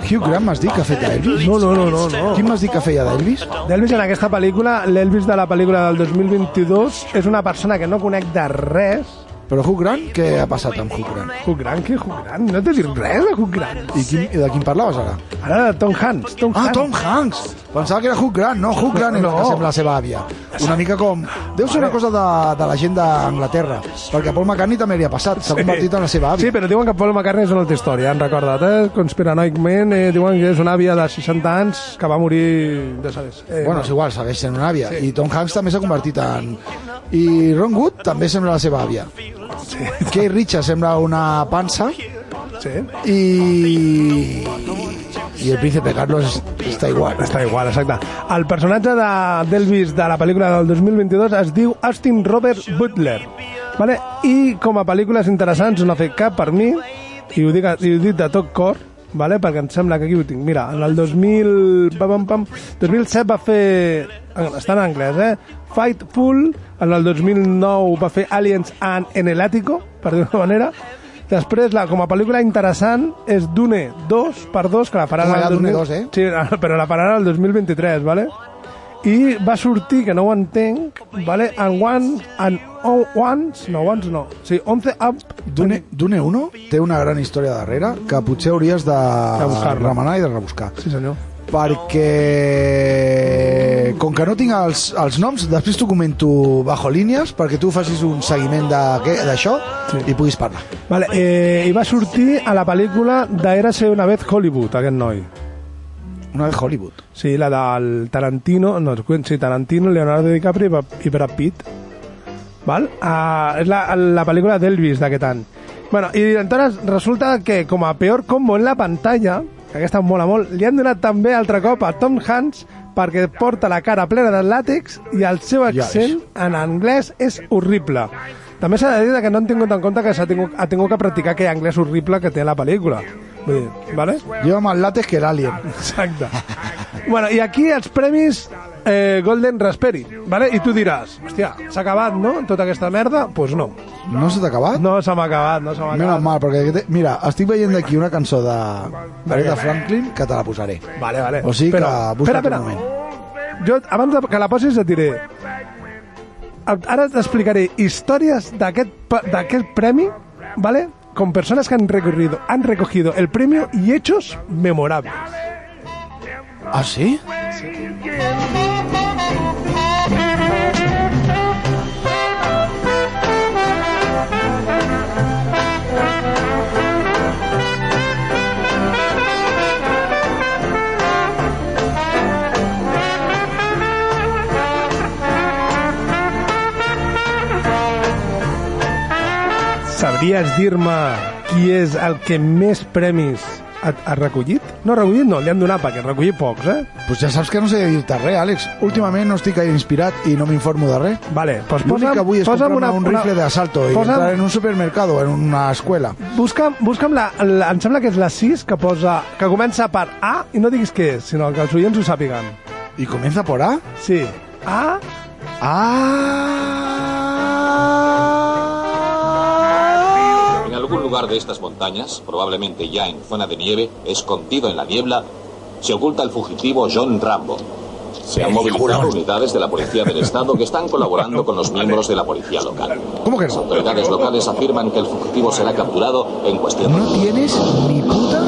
[SPEAKER 5] Hugh Grant m'has dit que ha fet d'Elvis?
[SPEAKER 4] No, no, no, no, no.
[SPEAKER 5] Qui m'has dit que feia d'Elvis?
[SPEAKER 4] D'Elvis en aquesta pel·lícula, l'Elvis de la pel·lícula del 2022 és una persona que no conec de res.
[SPEAKER 5] Però Hugh Grant, què ha passat amb Hugh Grant?
[SPEAKER 4] Hugh Grant, què Hugh Grant? No t'has dit res de Hugh Grant.
[SPEAKER 5] I, quin, i de quin parlaves ara?
[SPEAKER 4] Ara de Tom Hanks. Tom
[SPEAKER 5] Ah,
[SPEAKER 4] Hanks.
[SPEAKER 5] Tom Hanks! Pensava que era Hugh Grant, no, Hugh Grant no.
[SPEAKER 4] No.
[SPEAKER 5] que sembla la seva àvia. Una mica com... Deu ser una cosa de, de la gent d'Anglaterra, perquè a Paul McCartney també li ha passat, s'ha convertit en la seva àvia.
[SPEAKER 4] Sí, però diuen que Paul McCartney és una altra història, han recordat, eh? Conspiranoicament, eh, diuen que és una àvia de 60 anys que va morir, ja sabes. Eh,
[SPEAKER 5] Bueno, és igual, segueix sent una àvia. I Tom Hanks també s'ha convertit en... I Ron Wood també sembla la seva àvia. Sí. Kate Richards sembla una pansa.
[SPEAKER 4] Sí.
[SPEAKER 5] I... I el príncipe Carlos està igual.
[SPEAKER 4] Està igual, exacte. El personatge de- d'Elvis de, de la pel·lícula del 2022 es diu Austin Robert Butler. Vale? I com a pel·lícules interessants no ha fet cap per mi, i ho dic, i ho dic de tot cor, vale? perquè em sembla que aquí ho tinc. Mira, en el 2000, pam, pam, pam, 2007 va fer... Està en anglès, eh? Fightful, en el 2009 va fer Aliens and en el Ático, per dir-ho d'una manera. Després, la, com a pel·lícula interessant, és Dune 2x2, que la farà
[SPEAKER 5] Home,
[SPEAKER 4] el
[SPEAKER 5] ja Dune
[SPEAKER 4] 2000.
[SPEAKER 5] dos, eh?
[SPEAKER 4] Sí, ah, però la pararan el 2023, ¿vale? I va sortir, que no ho entenc, ¿vale? En One, en on, Once, no, Once no. Sí, 11 Up,
[SPEAKER 5] Dune, Dune 1 té una gran història darrere que potser hauries de,
[SPEAKER 4] De buscar-la.
[SPEAKER 5] remenar i de rebuscar.
[SPEAKER 4] sí senyor.
[SPEAKER 5] Perquè, com que no tinc els, els noms, després t'ho comento bajo línies perquè tu facis un seguiment de què- d'això sí. i puguis parlar.
[SPEAKER 4] Vale, eh, I va sortir a la pel·lícula d'Érase una vez Hollywood, aquest noi.
[SPEAKER 5] Una vez Hollywood.
[SPEAKER 4] Sí, la del Tarantino, no, sí, Tarantino, Leonardo DiCaprio i Bra- i Brad Pitt. Val? Ah, és la, la pel·lícula d'Elvis d'aquest any. Bueno, i entonces resulta que com a peor combo en la pantalla, que aquesta em mola molt, li han donat també altre cop a Tom Hanks perquè porta la cara plena de làtex i el seu
[SPEAKER 5] ves.
[SPEAKER 4] accent en anglès és horrible. També s'ha de dir que no han tingut en compte que s'ha tingut, ha tingut que practicar aquell anglès horrible que té la pel·lícula. Vull dir, vale?
[SPEAKER 5] Lleva más lates que el Alien.
[SPEAKER 4] Exacte. bueno, i aquí els premis eh, Golden Raspberry, vale? i tu diràs, hòstia, s'ha acabat, no?, tota aquesta merda? Doncs pues no.
[SPEAKER 5] No se t'ha acabat?
[SPEAKER 4] No se m'ha acabat, no se m'ha
[SPEAKER 5] Menos
[SPEAKER 4] acabat.
[SPEAKER 5] mal, perquè aquest- mira, estic veient d'aquí una cançó de Aretha Franklin que te la posaré.
[SPEAKER 4] Vale, vale.
[SPEAKER 5] O sigui que
[SPEAKER 4] Però, espera,
[SPEAKER 5] busca't un
[SPEAKER 4] espera.
[SPEAKER 5] moment.
[SPEAKER 4] Jo, abans de que la posis, et diré... Ara t'explicaré històries d'aquest pa- d'aquest premi, vale? con persones que han recorrido, han recogido el premio y hechos memorables.
[SPEAKER 5] Ah, sí?
[SPEAKER 4] Sabries dir-me qui és el que més premis ha, ha recollit? No, recollit no, li han donat perquè recollir pocs, eh?
[SPEAKER 5] Pues ja saps que no sé dir-te res, Àlex. Últimament no estic gaire inspirat i no m'informo de res.
[SPEAKER 4] Vale, doncs
[SPEAKER 5] L'únic
[SPEAKER 4] posa'm-
[SPEAKER 5] que vull és
[SPEAKER 4] posa'm
[SPEAKER 5] comprar-me
[SPEAKER 4] una-
[SPEAKER 5] un
[SPEAKER 4] una-
[SPEAKER 5] rifle d'assalto i
[SPEAKER 4] posa'm-
[SPEAKER 5] entrar en un supermercat o en una escuela.
[SPEAKER 4] Busca'm, busca'm la, la, em sembla que és la 6 que posa, que comença per A i no diguis què és, sinó que els oients ho sàpiguen.
[SPEAKER 5] I comença per A?
[SPEAKER 4] Sí. A...
[SPEAKER 16] En algún lugar de estas montañas, probablemente ya en zona de nieve, escondido en la niebla, se oculta el fugitivo John Rambo. Se han movilizado unidades de la Policía del Estado que están colaborando con los miembros de la Policía local.
[SPEAKER 5] ¿Cómo que
[SPEAKER 16] Las autoridades locales afirman que el fugitivo será capturado en cuestión de...
[SPEAKER 5] No tienes ni puta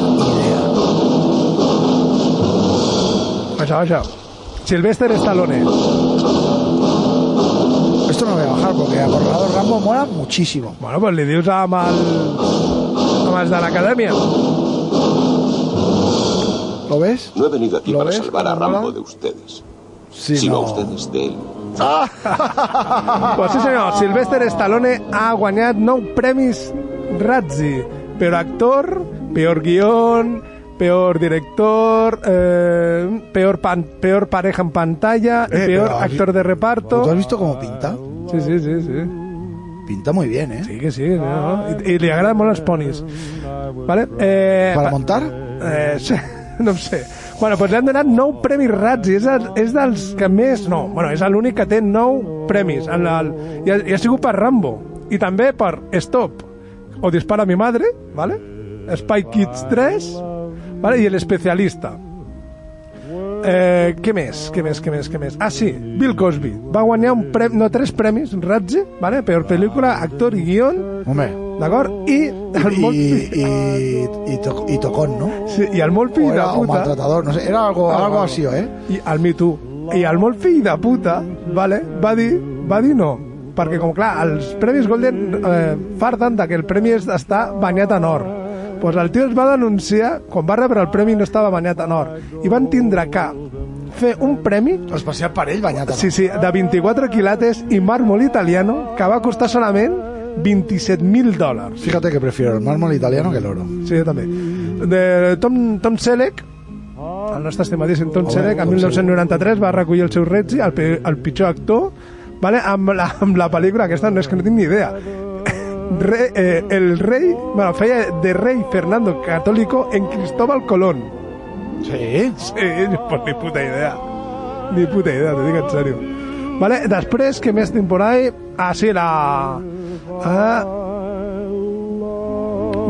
[SPEAKER 4] Això, això. Sylvester Stallone.
[SPEAKER 5] Esto no lo voy a bajar porque Acorralado Rambo mola muchísimo.
[SPEAKER 4] Bueno, pues li dius amb el... amb els de l'acadèmia.
[SPEAKER 5] ¿Lo ves?
[SPEAKER 16] No he venido aquí
[SPEAKER 5] ¿Lo
[SPEAKER 16] para
[SPEAKER 5] ves,
[SPEAKER 16] salvar a
[SPEAKER 5] Carambola?
[SPEAKER 16] Rambo de ustedes,
[SPEAKER 5] Sí,
[SPEAKER 16] sino
[SPEAKER 5] no.
[SPEAKER 16] a ustedes de él.
[SPEAKER 4] Pues sí, senyor, Sylvester Stallone ha guanyat nou premis Razzi. Peor actor, peor guión, peor director, eh, peor, pan, peor pareja en pantalla,
[SPEAKER 5] Eh,
[SPEAKER 4] peor
[SPEAKER 5] pero has-
[SPEAKER 4] actor de reparto...
[SPEAKER 5] ¿Tú has visto cómo pinta?
[SPEAKER 4] Sí, sí, sí, sí.
[SPEAKER 5] Pinta muy bien, ¿eh?
[SPEAKER 4] Sí, que sí. no? I, I li agraden molt els ponis. Vale? Eh,
[SPEAKER 5] ¿Para
[SPEAKER 4] pa-
[SPEAKER 5] montar?
[SPEAKER 4] Eh, sí, no ho sé. Bueno, doncs li han donat 9 premis Razzi. És, el, és dels que més... No, bueno, és l'únic que té 9 premis. En el, i, ha, I ha sigut per Rambo. I també per Stop. O Dispara a mi madre, vale? Spy Kids 3, vale? I El especialista. Eh, què més? Què més? Què més? Què més? Ah, sí, Bill Cosby. Va guanyar un prem... no, tres premis, Ratze, vale? peor pel·lícula, actor i guion,
[SPEAKER 5] Hombre.
[SPEAKER 4] d'acord? I el molt...
[SPEAKER 5] Y, y, y, to- y tocón, ¿no?
[SPEAKER 4] Sí, i el molt fill
[SPEAKER 5] O
[SPEAKER 4] de
[SPEAKER 5] era o
[SPEAKER 4] puta...
[SPEAKER 5] maltratador, no sé, era algo- algo así, eh?
[SPEAKER 4] I el Me Too. I el molt fill de puta, vale? va dir, va dir no. Perquè, com clar, els premis Golden eh, farden de que el premi és- està banyat en or. Pues el tio es va denunciar, quan va rebre el premi no estava banyat en or. I van tindre que fer un premi
[SPEAKER 5] Especial per ell, banyat.
[SPEAKER 4] Sí, sí, de 24 quilates i màrmol italiano que va costar solament 27.000 dòlars.
[SPEAKER 5] Fíjate que prefiero el mármol italiano que el oro.
[SPEAKER 4] Sí, jo també. De Tom, Tom Selleck, el nostre estimadíssim Tom
[SPEAKER 5] Home,
[SPEAKER 4] Selleck, a
[SPEAKER 5] Tom
[SPEAKER 4] 1993 va recollir el seu Reggie, el, pe- el pitjor actor, vale? amb, la, amb la pel·lícula aquesta, no és que no tinc ni idea. Re, eh, el rei, bueno, feia de rei Fernando Católico en Cristóbal Colón.
[SPEAKER 5] Sí?
[SPEAKER 4] Sí, pues ni puta idea. Ni puta idea, te dic en sèrio. Vale, després, que més tinc por ahí? Ah, sí, la... Ah,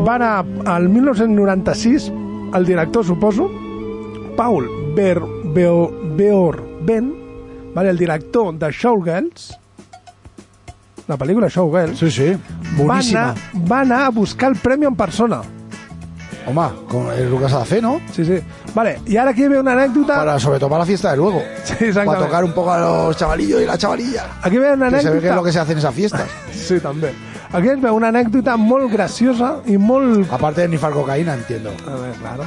[SPEAKER 4] va anar al 1996, el director, suposo, Paul Ber, Beo, Beor Ben, vale, el director de Showgirls, la pel·lícula Showgirls,
[SPEAKER 5] Sí, sí.
[SPEAKER 4] va
[SPEAKER 5] Boníssima.
[SPEAKER 4] anar, va anar a buscar el premi en persona.
[SPEAKER 5] Home, com és el que s'ha de fer, eh, no?
[SPEAKER 4] Sí, sí. Vale, i ara aquí ve una anècdota...
[SPEAKER 5] Para, sobre todo para la fiesta de luego.
[SPEAKER 4] Sí,
[SPEAKER 5] Para
[SPEAKER 4] exactamente.
[SPEAKER 5] tocar un poco a los chavalillos y la chavalilla.
[SPEAKER 4] Aquí ve una
[SPEAKER 5] Que se
[SPEAKER 4] anècdota...
[SPEAKER 5] ve que es lo que se hace en esas fiestas.
[SPEAKER 4] Sí, també. Aquí es veu una anècdota molt graciosa i molt...
[SPEAKER 5] Aparte de nifar cocaína, entiendo.
[SPEAKER 4] A veure, claro.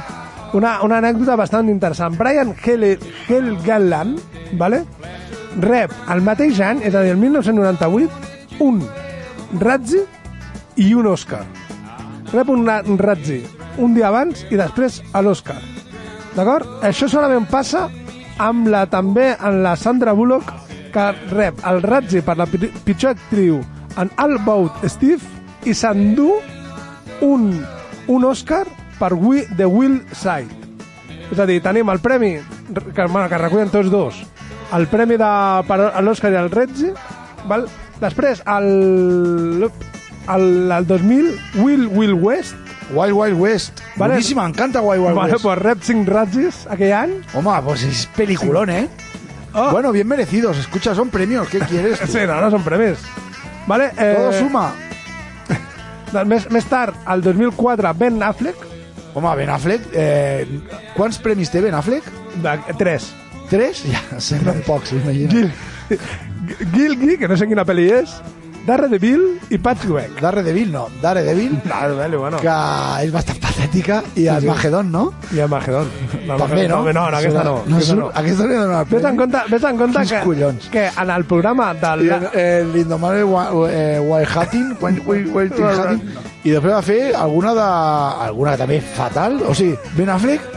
[SPEAKER 4] Una, una anècdota bastant interessant. Brian Hel Helgeland, vale? rep el mateix any, és a dir, el 1998, un Razzi i un Oscar. Rep un na- un Razzi un dia abans i després a l'Oscar. D'acord? Això solament passa amb la, també en la Sandra Bullock, que rep el Razzi per la pi- pitjor actriu en All About Steve i s'endú un, un Oscar per We, The Will Side. És a dir, tenim el premi, que, bueno, que recullen tots dos, el premi de, per a l'Òscar i el Reggie, val? després, el, el, el 2000, Will Will West,
[SPEAKER 5] Wild Wild West.
[SPEAKER 4] Vale.
[SPEAKER 5] Buenísima, me encanta Wild Wild
[SPEAKER 4] vale,
[SPEAKER 5] West.
[SPEAKER 4] pues rep 5 Razzies aquell any.
[SPEAKER 5] Home, pues es peliculón, ¿eh?
[SPEAKER 4] Oh.
[SPEAKER 5] Bueno, bien merecidos. Escucha, son premios. ¿Qué quieres? tú?
[SPEAKER 4] Sí, no, no són premis. Vale, eh,
[SPEAKER 5] Todo suma.
[SPEAKER 4] doncs Més, més tard, el 2004, Ben Affleck,
[SPEAKER 5] Home, Ben Affleck... Eh, quants premis té Ben Affleck?
[SPEAKER 4] de 3.
[SPEAKER 5] Tres? Ja, semblen pocs, imagina.
[SPEAKER 4] Gil, Gilgi, que no sé quina pel·li és, Daredevil i Patchwork.
[SPEAKER 5] Daredevil no, Daredevil.
[SPEAKER 4] Daredevil, bueno.
[SPEAKER 5] Que és bastant patètica i el
[SPEAKER 4] sí.
[SPEAKER 5] Magedon, no?
[SPEAKER 4] I el Magedon. No,
[SPEAKER 5] També, no?
[SPEAKER 4] No, no, aquesta no.
[SPEAKER 5] No
[SPEAKER 4] aquesta
[SPEAKER 5] surt- aquesta no hi ha una
[SPEAKER 4] Ves en compte, ves en compte
[SPEAKER 5] Quins
[SPEAKER 4] que,
[SPEAKER 5] collons.
[SPEAKER 4] que en el programa del...
[SPEAKER 5] I el- el l'indomable Wa- eh, Wild Hatting, Wild- Wild- Wild Hatting, i després va fer alguna de... alguna que també fatal, o sigui, Ben Affleck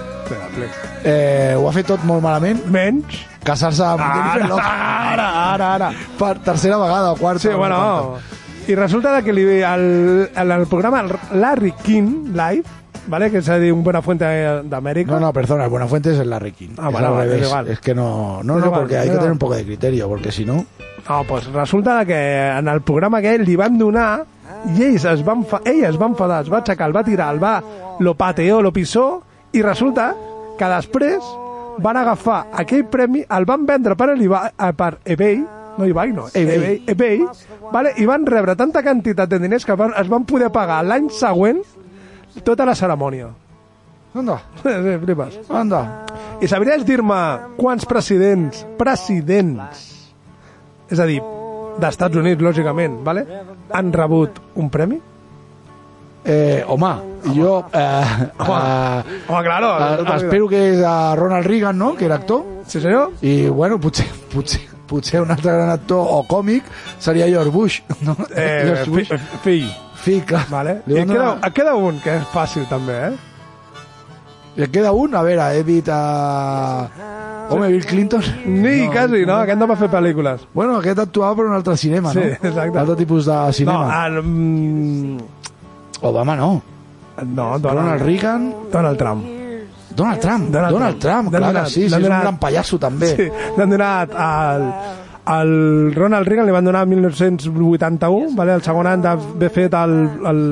[SPEAKER 5] eh, ho ha fet tot molt malament.
[SPEAKER 4] Menys.
[SPEAKER 5] Casar-se amb
[SPEAKER 4] Ara,
[SPEAKER 5] Jennifer Lopez. Ara, ara, ara. Per tercera vegada o quarta.
[SPEAKER 4] Sí,
[SPEAKER 5] no
[SPEAKER 4] bueno.
[SPEAKER 5] recordo.
[SPEAKER 4] I resulta que li, el, el, el programa Larry King Live, ¿vale? que és a dir, un bona fuente d'Amèrica.
[SPEAKER 5] No, no, perdona, Buenafuente es el Larry King.
[SPEAKER 4] Ah,
[SPEAKER 5] Es
[SPEAKER 4] vale,
[SPEAKER 5] al
[SPEAKER 4] vale,
[SPEAKER 5] revés.
[SPEAKER 4] es igual.
[SPEAKER 5] Es que no, no,
[SPEAKER 4] Es
[SPEAKER 5] no,
[SPEAKER 4] igual,
[SPEAKER 5] porque hay
[SPEAKER 4] es
[SPEAKER 5] que tener
[SPEAKER 4] igual.
[SPEAKER 5] un poco de criterio, porque si no...
[SPEAKER 4] No, pues resulta que en el programa que ell li van donar i ells es van fa... ell es va enfadar, es va aixecar, el va tirar, el va... lo pateó, lo pisó i resulta que després van agafar aquell premi, el van vendre per, Iba, per eBay, no eBay, no, eBay, eBay, vale? i van rebre tanta quantitat de diners que van, es van poder pagar l'any següent tota la cerimònia.
[SPEAKER 5] Anda.
[SPEAKER 4] Sí, flipes.
[SPEAKER 5] Anda.
[SPEAKER 4] I sabries dir-me quants presidents, presidents, és a dir, d'Estats Units, lògicament, vale? han rebut un premi?
[SPEAKER 5] Eh, home,
[SPEAKER 4] Ah,
[SPEAKER 5] jo... Eh, home, eh,
[SPEAKER 4] home, claro,
[SPEAKER 5] eh,
[SPEAKER 4] tota la vida.
[SPEAKER 5] espero que és a Ronald Reagan, no?, que era actor.
[SPEAKER 4] Sí, senyor.
[SPEAKER 5] I, bueno, potser, potser, potser un altre gran actor o còmic seria George Bush, no?
[SPEAKER 4] Eh,
[SPEAKER 5] George Bush.
[SPEAKER 4] fi, fill.
[SPEAKER 5] Fill, clar.
[SPEAKER 4] Vale?
[SPEAKER 5] Li
[SPEAKER 4] I
[SPEAKER 5] van
[SPEAKER 4] en queda,
[SPEAKER 5] donar-
[SPEAKER 4] en queda un, que és fàcil també, eh?
[SPEAKER 5] Li queda un? A veure, he dit a... Home, Bill Clinton?
[SPEAKER 4] Ni, quasi, no? Aquest no va fer pel·lícules.
[SPEAKER 5] Bueno, aquest actuava per un altre cinema,
[SPEAKER 4] Sí,
[SPEAKER 5] no?
[SPEAKER 4] exacte.
[SPEAKER 5] Altre tipus de
[SPEAKER 4] No, ah.
[SPEAKER 5] cinema.
[SPEAKER 4] el... mm,
[SPEAKER 5] Obama no.
[SPEAKER 4] No, Donald,
[SPEAKER 5] Ronald Reagan...
[SPEAKER 4] Donald Trump.
[SPEAKER 5] Donald Trump, Donald, Trump,
[SPEAKER 4] L'han
[SPEAKER 5] clar
[SPEAKER 4] donat-
[SPEAKER 5] que sí, sí,
[SPEAKER 4] l'han
[SPEAKER 5] és un
[SPEAKER 4] donat-
[SPEAKER 5] gran pallasso també.
[SPEAKER 4] Sí, l'han donat al, al Ronald Reagan, li van donar 1981, vale? el segon any d'haver fet el, el,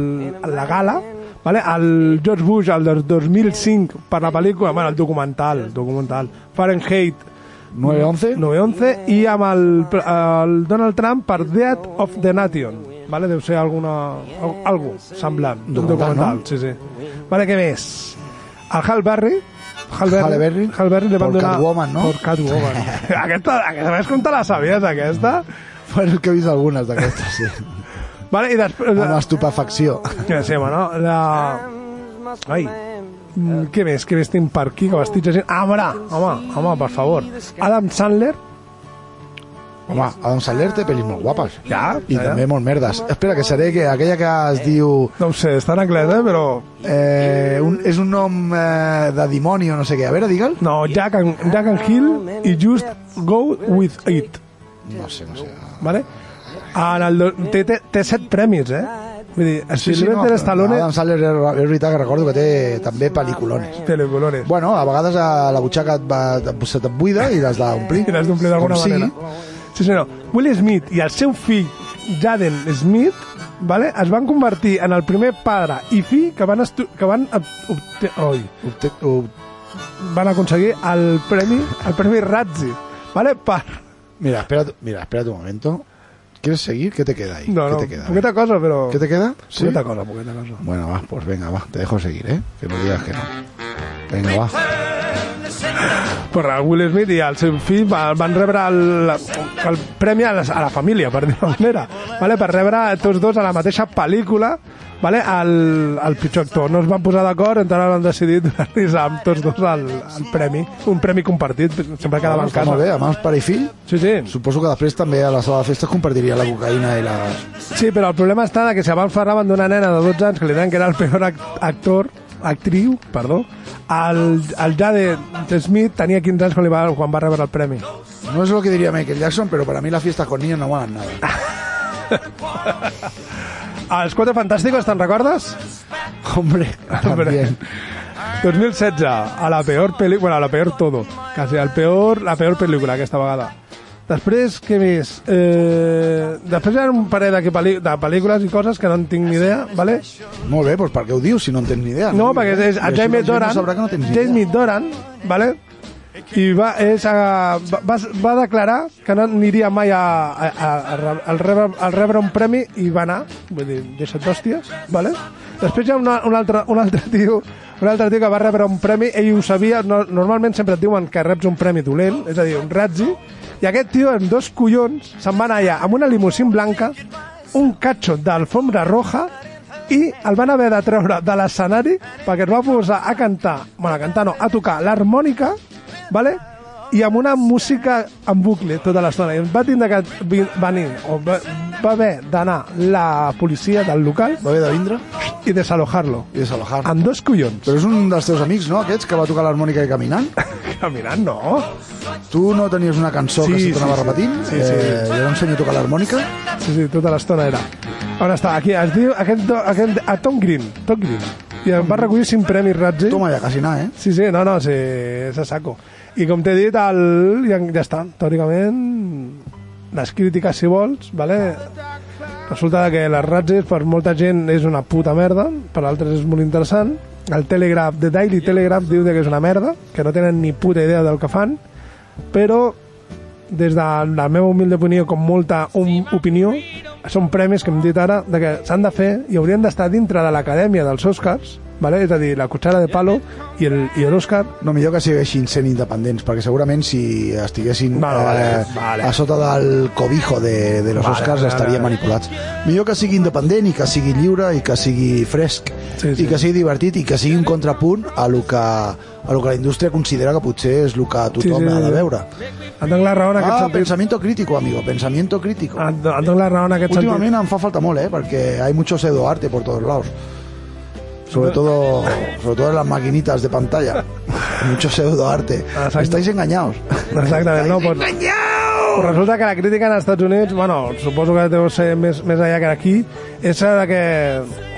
[SPEAKER 4] la gala, vale? el George Bush el del 2005 per la pel·lícula, bueno, el documental, el documental Fahrenheit
[SPEAKER 5] 9-11.
[SPEAKER 4] 9-11 i amb el, el Donald Trump per Death of the Nation. Vale? Deu ser alguna, al- algo semblant. Un
[SPEAKER 5] Documental,
[SPEAKER 4] documental
[SPEAKER 5] no?
[SPEAKER 4] sí, sí. Vale, què més? El Hal Berry, Hal Berry,
[SPEAKER 5] Halle Berry.
[SPEAKER 4] Hal Berry li van
[SPEAKER 5] Por
[SPEAKER 4] donar...
[SPEAKER 5] Catwoman, no?
[SPEAKER 4] Por Catwoman. aquesta, aquesta, ¿sabes com te la sabies, aquesta?
[SPEAKER 5] Bueno, és que he vist algunes d'aquestes, sí.
[SPEAKER 4] Vale, i després...
[SPEAKER 5] Amb estupefacció.
[SPEAKER 4] Què sé, bueno, la... Ai, mm, què més? Què més tinc per aquí? Que vestits així... Ah, mira, home, home, per favor. Adam Sandler,
[SPEAKER 5] Home, Adam Sandler té pel·lis molt guapes.
[SPEAKER 4] Ja, ja,
[SPEAKER 5] I
[SPEAKER 4] ja.
[SPEAKER 5] també molt merdes. Espera, que seré que aquella que es diu...
[SPEAKER 4] no ho sé, està en anglès, eh, però...
[SPEAKER 5] Eh, un, és un nom eh, de dimoni o no sé què. A veure, digue'l.
[SPEAKER 4] No, Jack and, Jack and Hill i Just Go With It,
[SPEAKER 5] No sé, no sé.
[SPEAKER 4] vale? En el, do- té, té, té set premis, eh? Vull dir, sí, Sylvester
[SPEAKER 5] no,
[SPEAKER 4] Stallone...
[SPEAKER 5] Adam Sandler és, és veritat que recordo que té també pel·lículones.
[SPEAKER 4] Telecolores.
[SPEAKER 5] Bueno, a vegades a la butxaca et va, et- se te'n buida i l'has d'omplir.
[SPEAKER 4] I l'has d'omplir d'alguna
[SPEAKER 5] Com sigui.
[SPEAKER 4] manera. Sí, senyor. Will Smith i el seu fill, Jaden Smith, vale? es van convertir en el primer pare i fill que van, estu que van, ob- obte oi,
[SPEAKER 5] Obte- ob-
[SPEAKER 4] van aconseguir el premi, el premi Razzie. Vale? Per...
[SPEAKER 5] Mira, espera, mira, espera un momento. ¿Quieres seguir? ¿Qué te queda ahí?
[SPEAKER 4] No,
[SPEAKER 5] ¿Qué
[SPEAKER 4] no,
[SPEAKER 5] te queda?
[SPEAKER 4] poqueta cosa, però...
[SPEAKER 5] ¿Qué te queda? ¿Sí?
[SPEAKER 4] Poqueta cosa, poqueta cosa.
[SPEAKER 5] Bueno, va, pues venga, va, te dejo seguir, ¿eh? Que no digas que no. Venga, va.
[SPEAKER 4] Pues el Will Smith i el seu fill va- van rebre el, el premi a la, a la família, per dir-ho manera, vale? per rebre tots dos a la mateixa pel·lícula vale? el, el pitjor actor. No es van posar d'acord, encara han decidit donar-los amb tots dos el, el premi, un premi compartit, sempre quedaven en
[SPEAKER 5] Ah, Està
[SPEAKER 4] casa.
[SPEAKER 5] molt bé, a mans pare i fill.
[SPEAKER 4] Sí, sí.
[SPEAKER 5] Suposo que després també a la sala de festes compartiria la cocaïna i la...
[SPEAKER 4] Sí, però el problema està que si abans parlaven d'una nena de 12 anys que li deien que era el peor act- actor, actriu, perdó, el, el Jade Smith tenia 15 anys quan, li va, quan va rebre el premi.
[SPEAKER 5] No es lo que diría Michael Jackson, pero para mí las fiestas con niños no molan nada.
[SPEAKER 4] Els Quatre Fantàsticos, te'n recordes?
[SPEAKER 5] Hombre, también.
[SPEAKER 4] 2016, a la peor pel·lícula, bueno, a la peor todo, casi al peor, la peor pel·lícula aquesta vegada. Després, què més? Eh, després hi ha un parell de, pel·li- de pel·lícules i coses que no en tinc ni idea, ¿vale?
[SPEAKER 5] Molt bé, doncs per què ho dius si no en tens ni idea?
[SPEAKER 4] No, perquè és, és a
[SPEAKER 5] I així la
[SPEAKER 4] Jaime
[SPEAKER 5] gent no
[SPEAKER 4] Doran,
[SPEAKER 5] sabrà que no tens ni idea.
[SPEAKER 4] Jaime Doran, ¿vale? I va, és a, va, va declarar que no aniria mai a, a, a, a, re- al rebre, al rebre un premi i va anar, vull dir, deixa't d'hòsties, ¿vale? Després hi ha una, un, altre, un altre tio un altre tio que va rebre un premi, ell ho sabia, no, normalment sempre et diuen que reps un premi dolent, és a dir, un ratzi, i aquest tio amb dos collons se'n va anar allà amb una limusín blanca un catxo d'alfombra roja i el van haver de treure de l'escenari perquè es va posar a cantar, bueno, a cantar no, a tocar l'harmònica, ¿vale? i amb una música en bucle tota l'estona. I va tindre que vi- venir, o va, va haver d'anar la policia del local... Va haver de vindre? I desalojar-lo. I desalojar Amb dos collons.
[SPEAKER 5] Però és un dels teus amics, no, aquests, que va tocar l'harmònica i caminant?
[SPEAKER 4] caminant, no.
[SPEAKER 5] Tu no tenies una cançó que se t'anava repetint?
[SPEAKER 4] Sí, sí.
[SPEAKER 5] Eh,
[SPEAKER 4] era un senyor tocar l'harmònica? Sí, sí, tota l'estona era. On està? Aquí, es diu aquest, do- aquest, a Tom Green. Tom Green. I em va recollir cinc premis Razzie. Toma ja, quasi anar, eh? Sí, sí, no, no, sí, és a saco. I com t'he dit, el, ja, ja està, teòricament, les crítiques, si vols, vale? resulta que les Razzies per molta gent és una puta merda, per altres és molt interessant. El Telegraph, The Daily Telegraph, diu que és una merda, que no tenen ni puta idea del que fan, però des de la meva humil opinió com molta um, opinió són premis que hem dit ara de que s'han de fer i haurien d'estar dintre de l'acadèmia dels Oscars vale? és a dir, la cuchara de palo i el- i l'Oscar
[SPEAKER 5] No, millor que segueixin sent independents, perquè segurament si estiguessin eh,
[SPEAKER 4] Vale, vale, vale.
[SPEAKER 5] a sota del cobijo de, de los
[SPEAKER 4] Vale,
[SPEAKER 5] Oscars
[SPEAKER 4] vale,
[SPEAKER 5] estaria
[SPEAKER 4] vale.
[SPEAKER 5] manipulats. Millor que sigui independent i que sigui lliure i que sigui fresc i que sigui divertit i que sigui un contrapunt a lo que, a lo que la indústria considera que potser és el que tothom
[SPEAKER 4] Sí, sí,
[SPEAKER 5] ha
[SPEAKER 4] sí.
[SPEAKER 5] de veure.
[SPEAKER 4] Et dono la raó en aquest
[SPEAKER 5] ah,
[SPEAKER 4] sentit.
[SPEAKER 5] pensamiento crítico, amigo, pensamiento crítico.
[SPEAKER 4] Et do- et dono la raó en aquest
[SPEAKER 5] Últimament em fa falta molt, eh, perquè hay mucho pseudoarte por todos lados. Sobre todo, sobre todo en las maquinitas de pantalla. Mucho pseudoarte. Estáis engañados.
[SPEAKER 4] Exactament, no pots... Pues resulta que la crítica en els Estats Units, bueno, suposo que deu ser més, més allà que aquí, és la que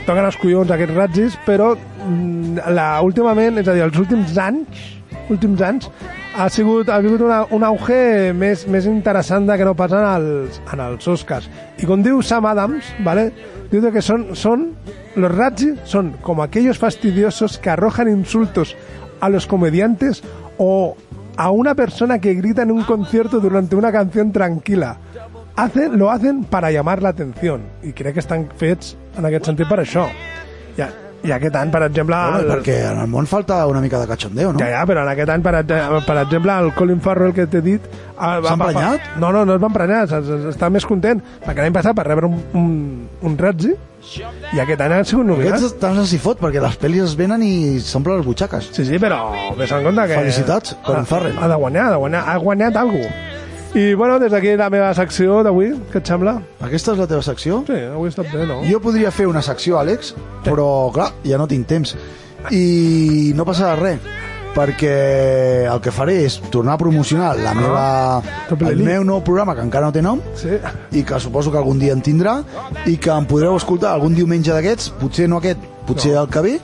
[SPEAKER 4] toquen els collons aquests ratzis, però mm, la, últimament, és a dir, els últims anys, últims anys, ha sigut, ha sigut una, un auge més, més interessant de que no passa en els, en els Oscars. I com diu Sam Adams, ¿vale? diu que són, són, los razzis són com aquellos fastidiosos que arrojan insultos a los comediantes o a una persona que grita en un concierto durante una canción tranquila. Hacen, lo hacen para llamar la atención i crec que estan fets en aquest sentit per això. Ja, i aquest any, per exemple...
[SPEAKER 5] Bueno,
[SPEAKER 4] el-
[SPEAKER 5] perquè en el món falta una mica de cachondeo, no?
[SPEAKER 4] Ja, ja, però en aquest any, per, ex- per exemple, el Colin Farrell que t'he dit... S'ha
[SPEAKER 5] emprenyat?
[SPEAKER 4] No, no, no es va emprenyar, es- es- està més content, perquè l'any passat va rebre un, un, un Razzie i aquest any ha sigut nominat.
[SPEAKER 5] Aquests tant s'hi fot, perquè les pel·lis es venen i s'omplen les butxaques.
[SPEAKER 4] Sí, sí, però ves en compte que...
[SPEAKER 5] Felicitats, Colin
[SPEAKER 4] Ha-
[SPEAKER 5] Farrell.
[SPEAKER 4] Ha de guanyar, ha de guanyar, ha guanyat alguna I, bueno, des d'aquí la meva secció d'avui, què et sembla?
[SPEAKER 5] Aquesta és la teva secció?
[SPEAKER 4] Sí, avui està bé, no?
[SPEAKER 5] Jo podria fer una secció, Àlex, però, clar, ja no tinc temps. I no passarà res, perquè el que faré és tornar a promocionar la meva, el meu nou programa, que encara no té nom,
[SPEAKER 4] sí.
[SPEAKER 5] i que suposo que algun dia en tindrà, i que em podreu escoltar algun diumenge d'aquests, potser no aquest, potser el que ve,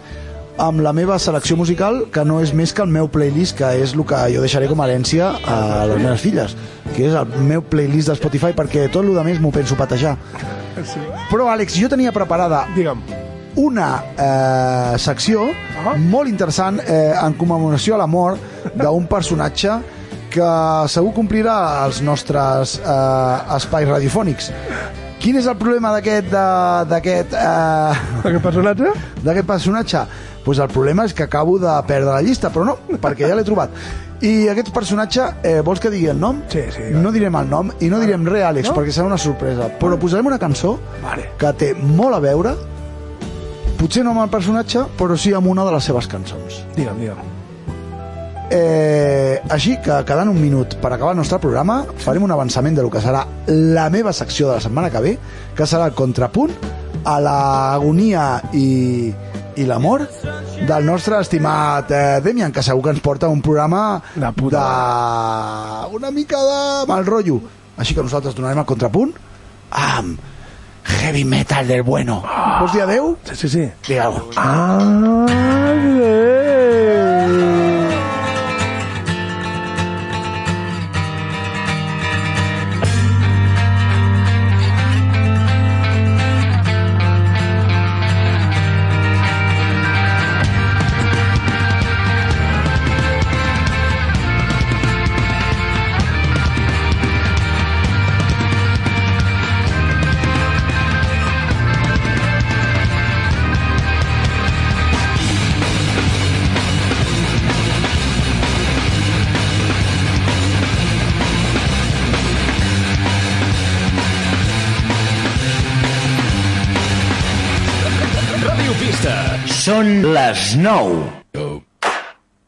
[SPEAKER 5] amb la meva selecció musical, que no és més que el meu playlist, que és el que jo deixaré com a herència a les meves filles, que és el meu playlist de Spotify, perquè tot el que més m'ho penso patejar.
[SPEAKER 4] Sí.
[SPEAKER 5] Però, Àlex, jo tenia preparada
[SPEAKER 4] Digue'm.
[SPEAKER 5] una eh, secció molt interessant eh, en commemoració a la mort d'un personatge que segur complirà els nostres eh, espais radiofònics. Quin és el problema d'aquest... de- d'aquest... Eh...
[SPEAKER 4] D'aquest personatge?
[SPEAKER 5] D'aquest personatge? Doncs pues el problema és que acabo de perdre la llista, però no, perquè ja l'he trobat. I aquest personatge, eh, vols que digui el nom? Sí, sí. No direm el nom i no direm res, Àlex,
[SPEAKER 4] No?
[SPEAKER 5] perquè serà una sorpresa. Però posarem una cançó
[SPEAKER 4] Vale.
[SPEAKER 5] que té molt a veure, potser no amb el personatge, però sí amb una de les seves cançons.
[SPEAKER 4] Digue'm, digue'm.
[SPEAKER 5] Eh, així que quedant un minut per acabar el nostre programa farem un avançament de lo que serà la meva secció de la setmana que ve que serà el contrapunt a l'agonia i, i l'amor del nostre estimat eh, Demian que segur que ens porta un programa de, una mica de mal rotllo així que nosaltres donarem el contrapunt amb Heavy Metal del Bueno Vols dir adeu?
[SPEAKER 4] Sí, sí, sí.
[SPEAKER 5] Digue-ho
[SPEAKER 17] Heavy
[SPEAKER 18] radiopista.
[SPEAKER 19] Són les 9.